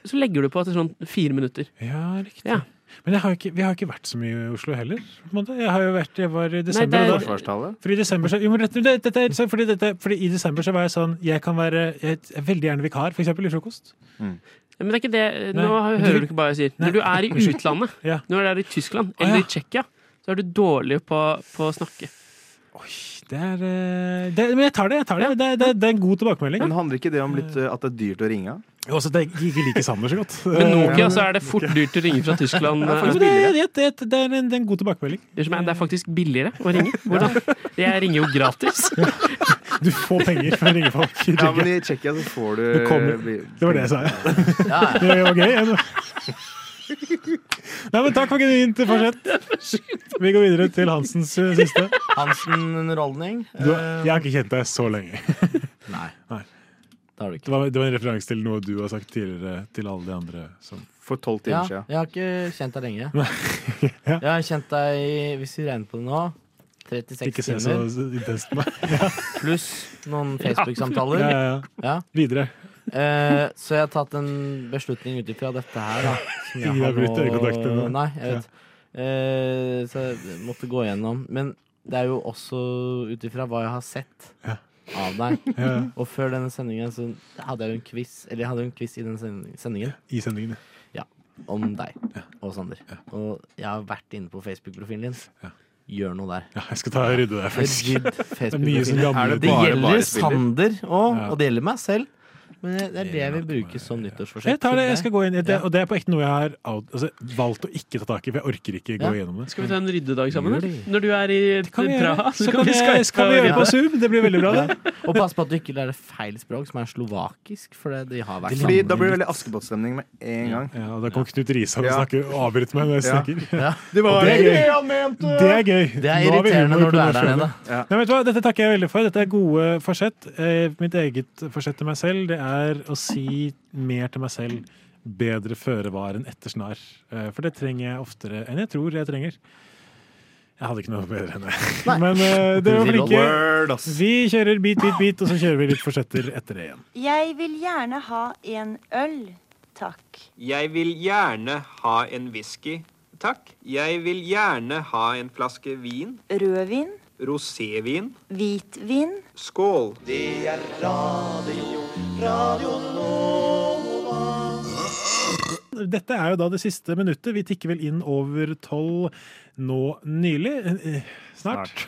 [SPEAKER 1] Så legger du på etter sånn fire minutter.
[SPEAKER 3] Ja, riktig. Men jeg har jo ikke, vi har jo ikke vært så mye i Oslo heller. På en måte. Jeg har jo vært, jeg var i desember.
[SPEAKER 1] det er-
[SPEAKER 3] og da- For i desember så, jo, men dette, dette, er interessant, fordi, dette, fordi i desember så var jeg sånn Jeg kan være jeg er veldig gjerne vikar, for eksempel i frokost.
[SPEAKER 1] Men det er ikke det. Nå
[SPEAKER 3] Nei.
[SPEAKER 1] hører du ikke hva jeg sier. Når du er i utlandet, når du er i Tyskland eller i Tsjekkia, så er du dårlig på, på å snakke.
[SPEAKER 3] Det er, eh, det, men jeg tar det. jeg tar Det det, det, det er en god tilbakemelding.
[SPEAKER 12] [laughs] Men handler ikke det om litt, eh, at det er dyrt å ringe?
[SPEAKER 3] Også at jeg ikke liker Sander så
[SPEAKER 12] [laughs]
[SPEAKER 3] godt. [laughs]
[SPEAKER 1] Men Nokia, så er det fort dyrt å ringe fra Tyskland. øh,
[SPEAKER 3] Ja, faktisk, det, er- det, det, det, er en, det er en god tilbakemelding.
[SPEAKER 1] Det som er- det er faktisk billigere å ringe. Hvordan? Jeg ringer jo
[SPEAKER 3] [laughs]
[SPEAKER 1] gratis.
[SPEAKER 3] Du får penger for å ringe folk. i
[SPEAKER 12] Ja,
[SPEAKER 3] Tyrkia.
[SPEAKER 12] men i Tsjekkia så får du eh,
[SPEAKER 3] Du kommer- Det var det jeg sa, ja. Det var gøy. jeg. Nei, men takk for genuint forsett. Vi går videre til Hansens eh, siste.
[SPEAKER 5] Hansen-underholdning.
[SPEAKER 3] Du,
[SPEAKER 5] Eh.
[SPEAKER 3] jeg har ikke kjent deg så lenge.
[SPEAKER 5] Nei. Det, har du ikke.
[SPEAKER 3] var, det var en referanse til noe du har sagt tidligere til alle de andre. Som
[SPEAKER 12] For tolv
[SPEAKER 5] Ja, jeg har ikke kjent deg
[SPEAKER 3] [laughs]
[SPEAKER 5] lenge. Jeg har kjent deg, i- hvis vi regner på det nå, 36
[SPEAKER 3] Ikke se så
[SPEAKER 5] timer.
[SPEAKER 3] intenst på meg.
[SPEAKER 5] Pluss noen Facebook-samtaler.
[SPEAKER 3] [laughs] Ja, ja, ja.
[SPEAKER 5] Ja.
[SPEAKER 3] Videre.
[SPEAKER 5] Eh, så jeg har tatt en beslutning ut ifra dette her, da.
[SPEAKER 3] [laughs]
[SPEAKER 5] som jeg
[SPEAKER 3] Ingen har brutt
[SPEAKER 5] nå-
[SPEAKER 3] øyekontakt ennå.
[SPEAKER 5] Nei, jeg vet. Eh, så jeg måtte gå gjennom. Men det er jo også ut ifra hva jeg har sett av deg.
[SPEAKER 3] Ja.
[SPEAKER 5] Og før denne sendingen så hadde jeg jo en quiz, eller jeg hadde jo en quiz i den sending- sendingen.
[SPEAKER 3] I sendingen,
[SPEAKER 5] ja. Om deg og Sander. Og jeg har vært inne på Facebook-profilen din. Gjør noe der.
[SPEAKER 3] Ja, jeg skal ta og rydde der, faktisk. [laughs]
[SPEAKER 5] Rydd
[SPEAKER 3] Det er mye som
[SPEAKER 5] Facebook-profilen.
[SPEAKER 3] gamle-
[SPEAKER 5] det
[SPEAKER 3] bare-
[SPEAKER 5] gjelder
[SPEAKER 3] bare spiller.
[SPEAKER 5] Sander òg,
[SPEAKER 3] Ja.
[SPEAKER 5] og det gjelder meg selv. Men det det er det jeg vil bruke som nyttårsforsett.
[SPEAKER 3] Jeg tar det, jeg skal gå inn i det,
[SPEAKER 5] Ja.
[SPEAKER 3] og det er på ekte noe jeg har out, altså, valgt å ikke ta tak i. For jeg orker ikke gå gjennom det.
[SPEAKER 1] Skal vi ta en ryddedag sammen? eller? Når du er i
[SPEAKER 3] kan vi gjøre.
[SPEAKER 1] Praha,
[SPEAKER 3] Så kan vi, skal vi gjøre det på Zoom. Det blir veldig bra, det.
[SPEAKER 5] [laughs] Ja. Og pass på at du ikke lærer feil språk, som er slovakisk. For det, de har vært
[SPEAKER 12] Fordi
[SPEAKER 5] sammen
[SPEAKER 12] da blir det veldig
[SPEAKER 5] litt.
[SPEAKER 12] Askepott-stemning med en gang.
[SPEAKER 3] Ja, og da kom Knut Risan og
[SPEAKER 12] Ja.
[SPEAKER 3] snakker og avbryter meg når jeg
[SPEAKER 12] Ja.
[SPEAKER 3] snakker.
[SPEAKER 12] Ja. Det var
[SPEAKER 3] Og
[SPEAKER 12] ikke
[SPEAKER 3] gøy.
[SPEAKER 12] det han mente!
[SPEAKER 3] Det er gøy.
[SPEAKER 5] Det er
[SPEAKER 3] Nå har vi
[SPEAKER 5] irriterende
[SPEAKER 3] humor
[SPEAKER 5] når du
[SPEAKER 3] på
[SPEAKER 5] er der
[SPEAKER 3] norsk.
[SPEAKER 5] nede.
[SPEAKER 3] Nei, vet du hva? Dette takker jeg veldig for. Dette er gode forsett. Eh, mitt eget forsett til meg selv det er å si mer til meg selv bedre føre var enn etter snar. Eh, for det trenger jeg oftere enn jeg tror jeg trenger. Jeg hadde ikke noe bedre enn det. Men eh, dere var flinke.
[SPEAKER 12] Word, ass.
[SPEAKER 3] Vi kjører beat, beat, beat, og så kjører vi litt forsetter etter det igjen.
[SPEAKER 15] Jeg vil gjerne ha en øl, takk.
[SPEAKER 13] Jeg vil gjerne ha en whisky, takk. Jeg vil gjerne ha en flaske vin.
[SPEAKER 15] Rødvin,
[SPEAKER 13] Rosévin.
[SPEAKER 15] hvitvin.
[SPEAKER 13] Skål.
[SPEAKER 15] Det er radio, radio nå.
[SPEAKER 3] Dette er jo da det siste minuttet. Vi tikker vel inn over tolv nå nylig. Eh, eh, Snart.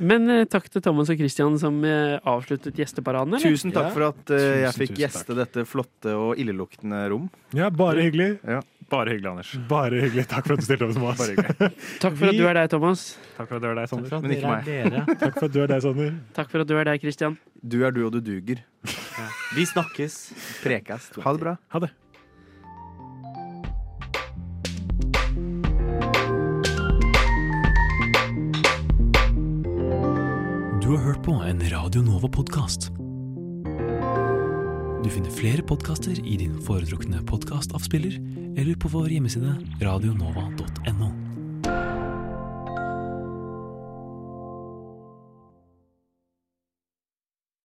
[SPEAKER 1] Men eh, takk til Thomas og Christian som eh, avsluttet gjesteparaden. eller?
[SPEAKER 12] Tusen takk for at eh, jeg
[SPEAKER 1] Tusen, tusen
[SPEAKER 12] fikk
[SPEAKER 1] takk.
[SPEAKER 12] gjeste dette flotte og illeluktende rom.
[SPEAKER 3] Ja, bare hyggelig.
[SPEAKER 14] Bare hyggelig, Anders.
[SPEAKER 3] Bare hyggelig. Takk for at du stilte opp, Thomas.
[SPEAKER 14] Bare
[SPEAKER 3] [laughs]
[SPEAKER 14] hyggelig.
[SPEAKER 1] Takk for at
[SPEAKER 3] Vi-
[SPEAKER 1] du er deg, Thomas.
[SPEAKER 14] Takk for at du er deg, Sander.
[SPEAKER 3] for at Men ikke dere er meg. dere. Takk for at du er deg, Sander.
[SPEAKER 1] Takk for at du er deg, Christian.
[SPEAKER 12] Du er du, og du duger.
[SPEAKER 5] Vi snakkes.
[SPEAKER 12] Prekes. Ha det bra.
[SPEAKER 3] Ha det. Du har hørt på en Radio Nova-podkast. Du finner flere podkaster i din foretrukne podkastavspiller eller på vår hjemmeside radionova.no.